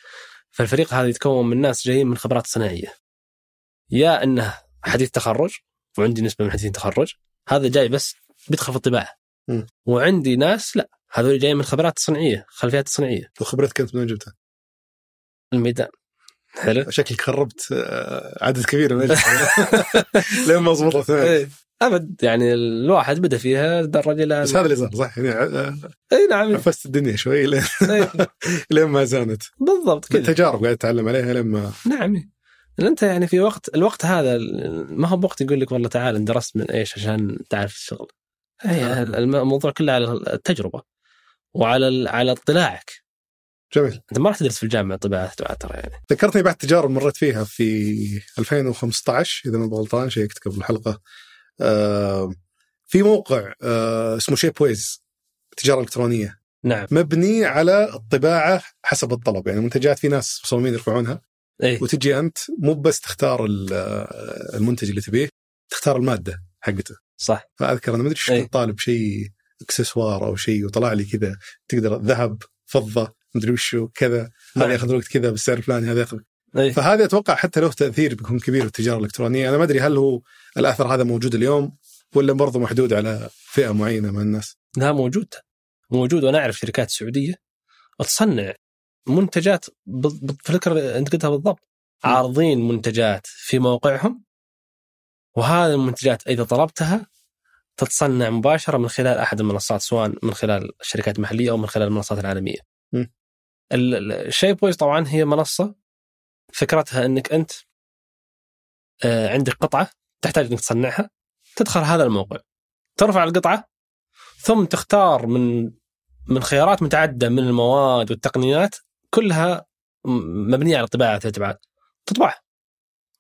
فالفريق هذا يتكون من ناس جايين من خبرات صناعيه يا انه حديث تخرج وعندي نسبه من حديثين تخرج هذا جاي بس بيدخل في الطباعه مم. وعندي ناس لا هذول جايين من خبرات صناعيه خلفيات صناعيه وخبرتك انت من وين جبتها؟ الميدان حلو شكلك خربت آه، عدد كبير من الأجهزة. لين ما ضبطت معك. إيه. ابد يعني الواحد بدا فيها درجه الى بس هذا اللي صار صح يعني آه، اي نعم عفست الدنيا شوي لين إيه. لين ما زانت بالضبط كذا بالتجارب قاعد اتعلم عليها لما نعم لأن انت يعني في وقت الوقت هذا ما هو بوقت يقول لك والله تعال إن درست من ايش عشان تعرف الشغل هي الم- الموضوع كله على التجربه وعلى ال- على اطلاعك جميل انت ما راح تدرس في الجامعه طباعه طباعة ترى يعني ذكرتني بعد تجارب مريت فيها في 2015 اذا ما غلطان شيكت قبل الحلقه آه، في موقع آه، اسمه شيب ويز تجاره الكترونيه نعم مبني على الطباعه حسب الطلب يعني منتجات في ناس مصممين يرفعونها اي وتجي انت مو بس تختار ال- آه، المنتج اللي تبيه تختار الماده حقته صح فاذكر انا ما ادري شو إيه. كنت طالب شيء اكسسوار او شيء وطلع لي كذا تقدر ذهب فضه ما ادري وشو كذا نعم. هذا ياخذ وقت كذا بالسعر الفلاني هذا ياخذ اي فهذا اتوقع حتى له تاثير بيكون كبير في التجاره الالكترونيه انا ما ادري هل هو الاثر هذا موجود اليوم ولا برضه محدود على فئه معينه من الناس لا موجود موجود وانا اعرف شركات سعوديه تصنع منتجات بال- بالفكره اللي انت قلتها بالضبط عارضين منتجات في موقعهم وهذه المنتجات اذا طلبتها تتصنع مباشره من خلال احد المنصات سواء من خلال الشركات المحليه او من خلال المنصات العالميه. م. ال- ال- الشيب بويز طبعا هي منصه فكرتها انك انت آه، عندك قطعه تحتاج انك تصنعها تدخل هذا الموقع ترفع القطعه ثم تختار من من خيارات متعدده من المواد والتقنيات كلها م- مبنيه على طباعه الابعاد تطبعها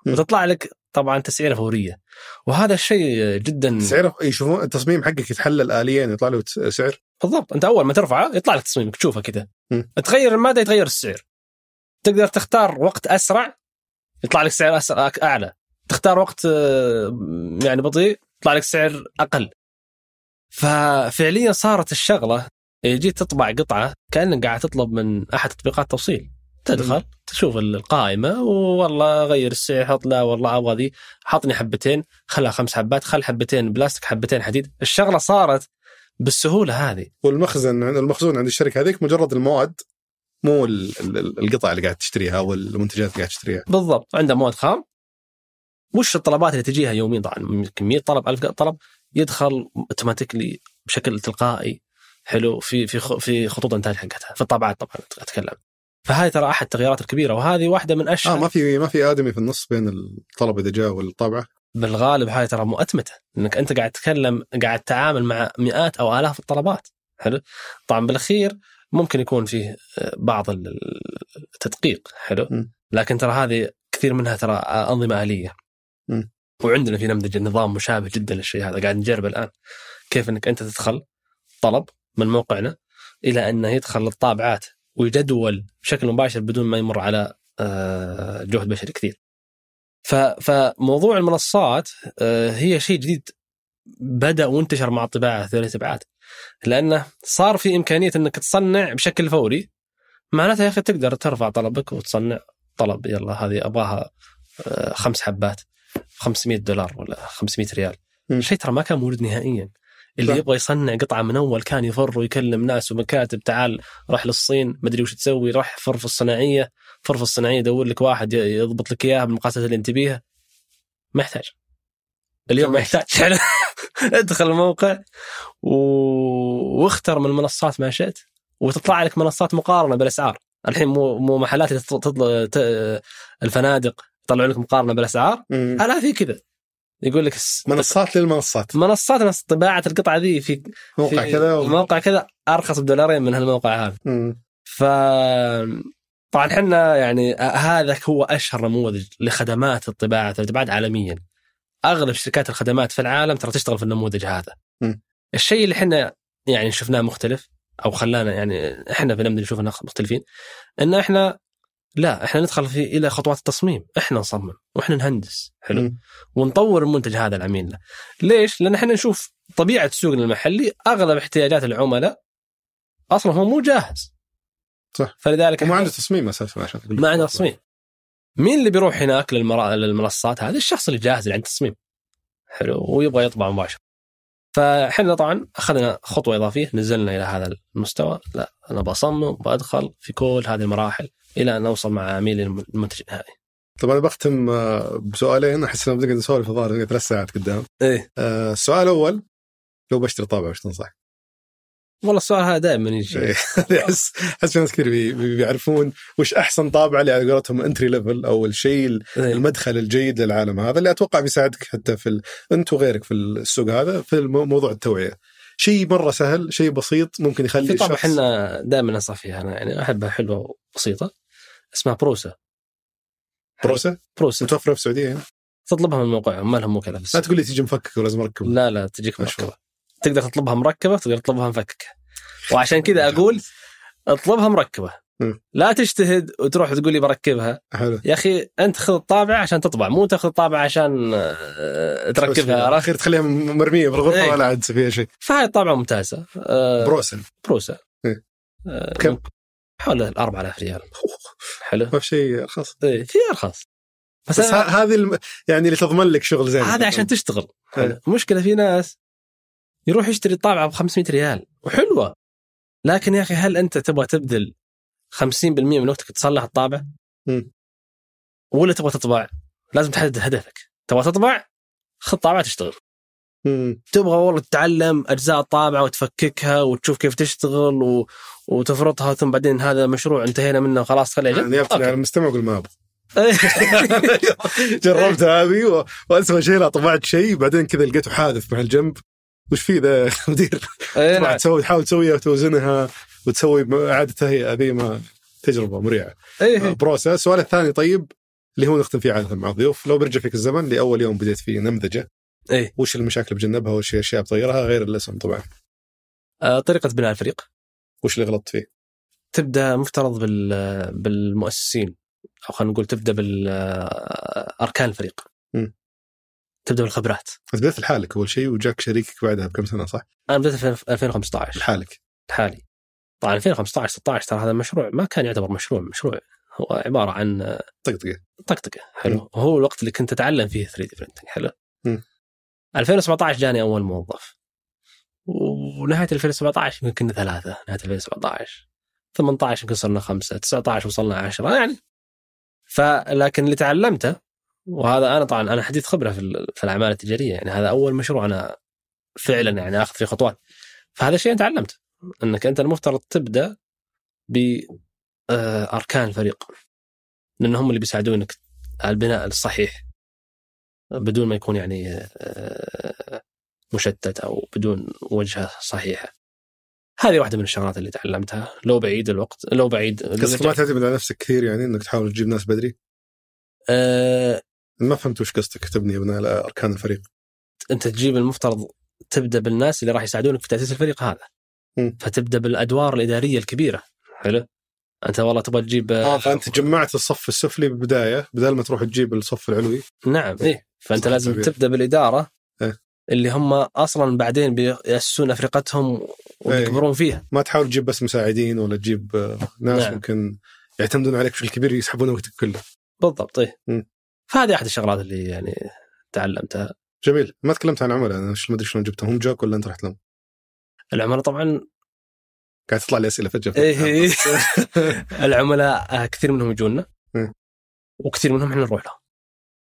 م. وتطلع لك طبعا تسعيره فوريه وهذا الشيء جدا سعره يشوفون التصميم حقك يتحلل اليا يطلع له سعر بالضبط انت اول ما ترفعه يطلع لك تصميمك تشوفه كذا م. تغير الماده يتغير السعر تقدر تختار وقت اسرع يطلع لك سعر أسرع أك- اعلى تختار وقت آه، يعني بطيء يطلع لك سعر اقل ففعليا صارت الشغله جيت تطبع قطعه كانك قاعد تطلب من احد تطبيقات التوصيل تدخل تشوف القائمه والله غير السعر حط لا والله ابغى ذي حطني حبتين خلها خمس حبات خل حبتين بلاستيك حبتين حديد الشغله صارت بالسهوله هذه والمخزن عند المخزون عند الشركه هذيك مجرد المواد مو ال- ال- القطع اللي قاعد تشتريها او المنتجات اللي قاعد تشتريها بالضبط عنده مواد خام وش الطلبات اللي تجيها يوميا طبعا كميه طلب ألف طلب يدخل اوتوماتيكلي بشكل تلقائي حلو في في خ- في خطوط انتاج حقتها في الطابعات طبعا اتكلم فهذه ترى احد التغييرات الكبيره وهذه واحده من اشهر اه ما في ما في ادمي في النص بين الطلب اذا جاء والطابعه بالغالب هاي ترى مؤتمته انك انت قاعد تتكلم قاعد تتعامل مع مئات او الاف الطلبات حلو طبعا بالاخير ممكن يكون فيه آه، بعض ال- ال- التدقيق حلو م. لكن ترى هذه كثير منها ترى آه، انظمه اليه م. وعندنا في نمذجه نظام مشابه جدا للشيء هذا قاعد نجربه الان كيف انك انت تدخل طلب من موقعنا الى انه يدخل للطابعات ويجدول بشكل مباشر بدون ما يمر على آه، جهد بشري كثير ف- فموضوع المنصات آه، هي شيء جديد بدا وانتشر مع الطباعه ثلاث ابعاد لانه صار في امكانيه انك تصنع بشكل فوري معناتها يا اخي تقدر ترفع طلبك وتصنع طلب يلا هذه ابغاها آه، خمس حبات 500 دولار ولا 500 ريال مم. شيء ترى ما كان موجود نهائيا اللي صح. يبغى يصنع قطعه من اول كان يفر ويكلم ناس ومكاتب تعال راح للصين مدري وش تسوي راح فرف الصناعيه فرف الصناعيه يدور لك واحد ي- يضبط لك اياها بالمقاسات اللي انت بيها ما يحتاج اليوم ما يحتاج ادخل الموقع و... واختر من المنصات ما شئت وتطلع لك منصات مقارنه بالاسعار الحين مو مو محلات اللي تطل... تطل... ت... الفنادق يطلعوا لك مقارنه بالاسعار مم. لا في كذا يقول لك الس- منصات للمنصات منصات ناس طباعه القطعه ذي في موقع في كذا و... موقع كذا ارخص بدولارين من هالموقع هذا مم. ف طبعا احنا يعني هذا هو اشهر نموذج لخدمات الطباعه ثلاث ابعاد عالميا اغلب شركات الخدمات في العالم ترى تشتغل في النموذج هذا مم. الشيء اللي احنا يعني شفناه مختلف او خلانا يعني احنا في نمذج نشوفنا مختلفين ان احنا لا احنا ندخل في الى خطوات التصميم احنا نصمم واحنا نهندس حلو مم. ونطور المنتج هذا العميل له ليش؟ لان احنا نشوف طبيعه سوقنا المحلي اغلب احتياجات العملاء اصلا هو مو جاهز صح. فلذلك وما عنده تصميم اساسا عشان تقول ما عنده تصميم مين اللي بيروح هناك للمرا... للمنصات هذا الشخص اللي جاهز اللي عنده تصميم حلو ويبغى يطبع مباشر فاحنا طبعا اخذنا خطوه اضافيه نزلنا الى هذا المستوى لا انا بصمم بدخل في كل هذه المراحل الى ان اوصل مع عميلي المنتج النهائي طب انا بختم آه، بسؤالين احس ان بنقعد نسولف الظاهر ثلاث ساعات قدام ايه آه، السؤال الاول لو بشتري طابعه وش تنصح؟ والله السؤال هذا دائما يجي إيه. احس احس في ناس كثير بي- بي- بيعرفون وش احسن طابعه اللي على قولتهم انتري ليفل او الشيء إيه. المدخل الجيد للعالم هذا اللي اتوقع بيساعدك حتى في ال... انت وغيرك في السوق هذا في المو- موضوع التوعيه شيء مره سهل شيء بسيط ممكن يخلي في طبعا الشخص- احنا دائما انصح فيها انا يعني احبها حلوه وبسيطه اسمها بروسا بروسه بروسا متوفره في السعوديه هنا تطلبها من موقعهم ما لهم وكلاء في لا السوق. تقول لي تيجي مفكك ولازم اركب لا لا تجيك مشهور. مركبه تقدر تطلبها مركبه تقدر تطلبها مفككه وعشان كذا اقول اطلبها مركبه مم. لا تجتهد وتروح تقول لي بركبها حلو يا اخي انت خذ الطابعه عشان تطبع مو تاخذ طابعه عشان آه، تركبها عرفت؟ الاخير تخليها م- مرميه بالغرفه إيه. ولا عاد فيها شيء فهاي الطابعه ممتازه آه، بروسه بروسا إيه. آه، كم؟ حول ال 4000 ريال حلو ما في شيء خاص إيه، في ارخص بس, أنا- ه- هذه الم... يعني اللي تضمن لك شغل زين هذا عشان تشتغل إيه. المشكله في ناس يروح يشتري طابعه ب 500 ريال وحلوه لكن يا اخي هل انت تبغى تبذل 50% من وقتك تصلح الطابعه؟ مم. ولا تبغى تطبع؟ لازم تحدد هدفك، تبغى تطبع؟ خذ طابعه تشتغل، مم. تبغى والله تتعلم اجزاء الطابعه وتفككها وتشوف كيف تشتغل و... وتفرطها ثم بعدين هذا مشروع انتهينا منه خلاص خليه يعني يجب. يفتني على المستمع يقول ما ابغى أوكي. إيه. جربت هذه و... واسوء شيء لا طبعت شيء بعدين كذا لقيته حادث مع الجنب وش في ذا يا مدير إيه، تروح نعم. تسوي تحاول تسويها وتوزنها وتسوي م- اعاده تهيئه ذي ما تجربه مريعه إيه. بروسه السؤال الثاني طيب اللي هو نختم فيه عاده مع الضيوف لو برجع فيك الزمن لاول يوم بديت فيه نمذجه إيه. وش المشاكل اللي بجنبها وش الاشياء بتغيرها غير الاسم طبعا آه، طريقه بناء الفريق وش اللي غلطت فيه تبدا مفترض بال بالمؤسسين او خلينا نقول تبدا باركان الفريق مم. تبدا بالخبرات بس بديت لحالك اول شيء وجاك شريكك بعدها بكم سنه صح؟ انا بدات في 2015 لحالك الحالي طبعا 2015 16 ترى هذا مشروع ما كان يعتبر مشروع مشروع هو عباره عن طقطقه طقطقه حلو هو الوقت اللي كنت اتعلم فيه 3 دي برنتنج حلو مم. 2017 جاني اول موظف ونهايه 2017 يمكن كنا ثلاثه نهايه 2017 18 يمكن صرنا خمسه 19 وصلنا 10 يعني فلكن اللي تعلمته وهذا انا طبعا انا حديث خبره في ال- في الاعمال التجاريه يعني هذا اول مشروع انا فعلا يعني اخذ فيه خطوات فهذا الشيء انا تعلمته انك انت المفترض تبدا باركان الفريق لان هم اللي بيساعدونك على البناء الصحيح بدون ما يكون يعني آه، مشتت او بدون وجهه صحيحه. هذه واحده من الشغلات اللي تعلمتها لو بعيد الوقت لو بعيد قصدك ما تعتمد على نفسك كثير يعني انك تحاول تجيب ناس بدري آه، ما فهمت وش قصدك تبني بناء على اركان الفريق انت تجيب المفترض تبدا بالناس اللي راح يساعدونك في تاسيس الفريق هذا. مم. فتبدا بالادوار الاداريه الكبيره حلو؟ انت والله تبغى تجيب اه فانت جمعت الصف السفلي بالبدايه بدل ما تروح تجيب الصف العلوي نعم ايه فانت صح، لازم طبيعي. تبدا بالاداره إيه. اللي هم اصلا بعدين بياسسون افرقتهم إيه. ويكبرون فيها ما تحاول تجيب بس مساعدين ولا تجيب آه، ناس نعم. ممكن يعتمدون عليك بشكل كبير يسحبون وقتك كله بالضبط ايه مم. فهذه احد الشغلات اللي يعني تعلمتها جميل ما تكلمت عن عملاء انا مش- ما ادري شلون جبتهم هم جاك ولا انت رحت لهم العملاء طبعا قاعد تطلع لي اسئله فجاه إيه. العملاء آه، كثير منهم يجونا مم. وكثير منهم احنا نروح لهم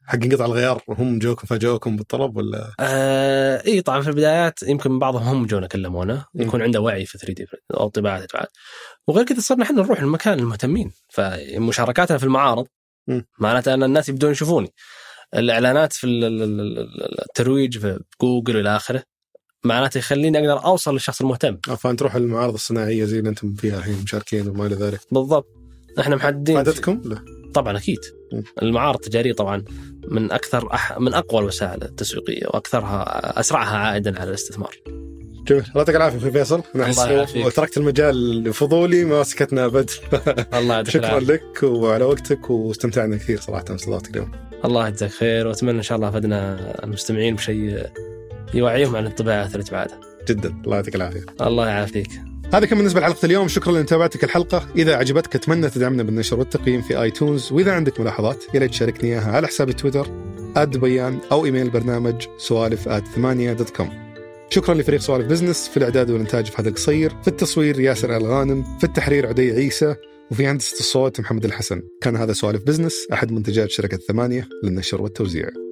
حق انقطع الغيار هم جوكم فاجئوكم بالطلب ولا آه اي طبعا في البدايات يمكن بعضهم هم جونا كلمونا مم. يكون عنده وعي في 3 دي او طباعه الابعاد وغير كذا صرنا احنا نروح المكان المهتمين فمشاركاتنا في المعارض مم. معناته ان الناس يبدون يشوفوني الاعلانات في ال- ال- ال- ال- الترويج في جوجل والى اخره معناته يخليني اقدر اوصل للشخص المهتم آه، فانت تروح المعارض الصناعيه زي اللي انتم فيها الحين مشاركين وما الى ذلك بالضبط احنا محددين فادتكم؟ لا طبعا اكيد مم. المعارض التجاريه طبعا من اكثر أح... من اقوى الوسائل التسويقيه واكثرها اسرعها عائدا على الاستثمار جميل الله يعطيك العافيه اخوي فيصل انا احس الله يعافيك. وتركت المجال لفضولي ما سكتنا ابد الله يعطيك شكرا العافية. لك وعلى وقتك واستمتعنا كثير صراحه باستضافتك اليوم الله يجزاك خير واتمنى ان شاء الله افدنا المستمعين بشيء يوعيهم عن الطباعه ثلاث بعدها جدا الله يعطيك العافيه الله يعافيك هذا كان بالنسبه لحلقه اليوم شكرا لمتابعتك الحلقه اذا عجبتك اتمنى تدعمنا بالنشر والتقييم في ايتونز واذا عندك ملاحظات يا ريت تشاركني اياها على حساب تويتر @بيان او ايميل برنامج سوالف @8.com شكرا لفريق سوالف بزنس في الاعداد والانتاج فهد القصير في التصوير ياسر آل غانم في التحرير عدي عيسى وفي هندسه الصوت محمد الحسن كان هذا سوالف بزنس احد منتجات شركه ثمانيه للنشر والتوزيع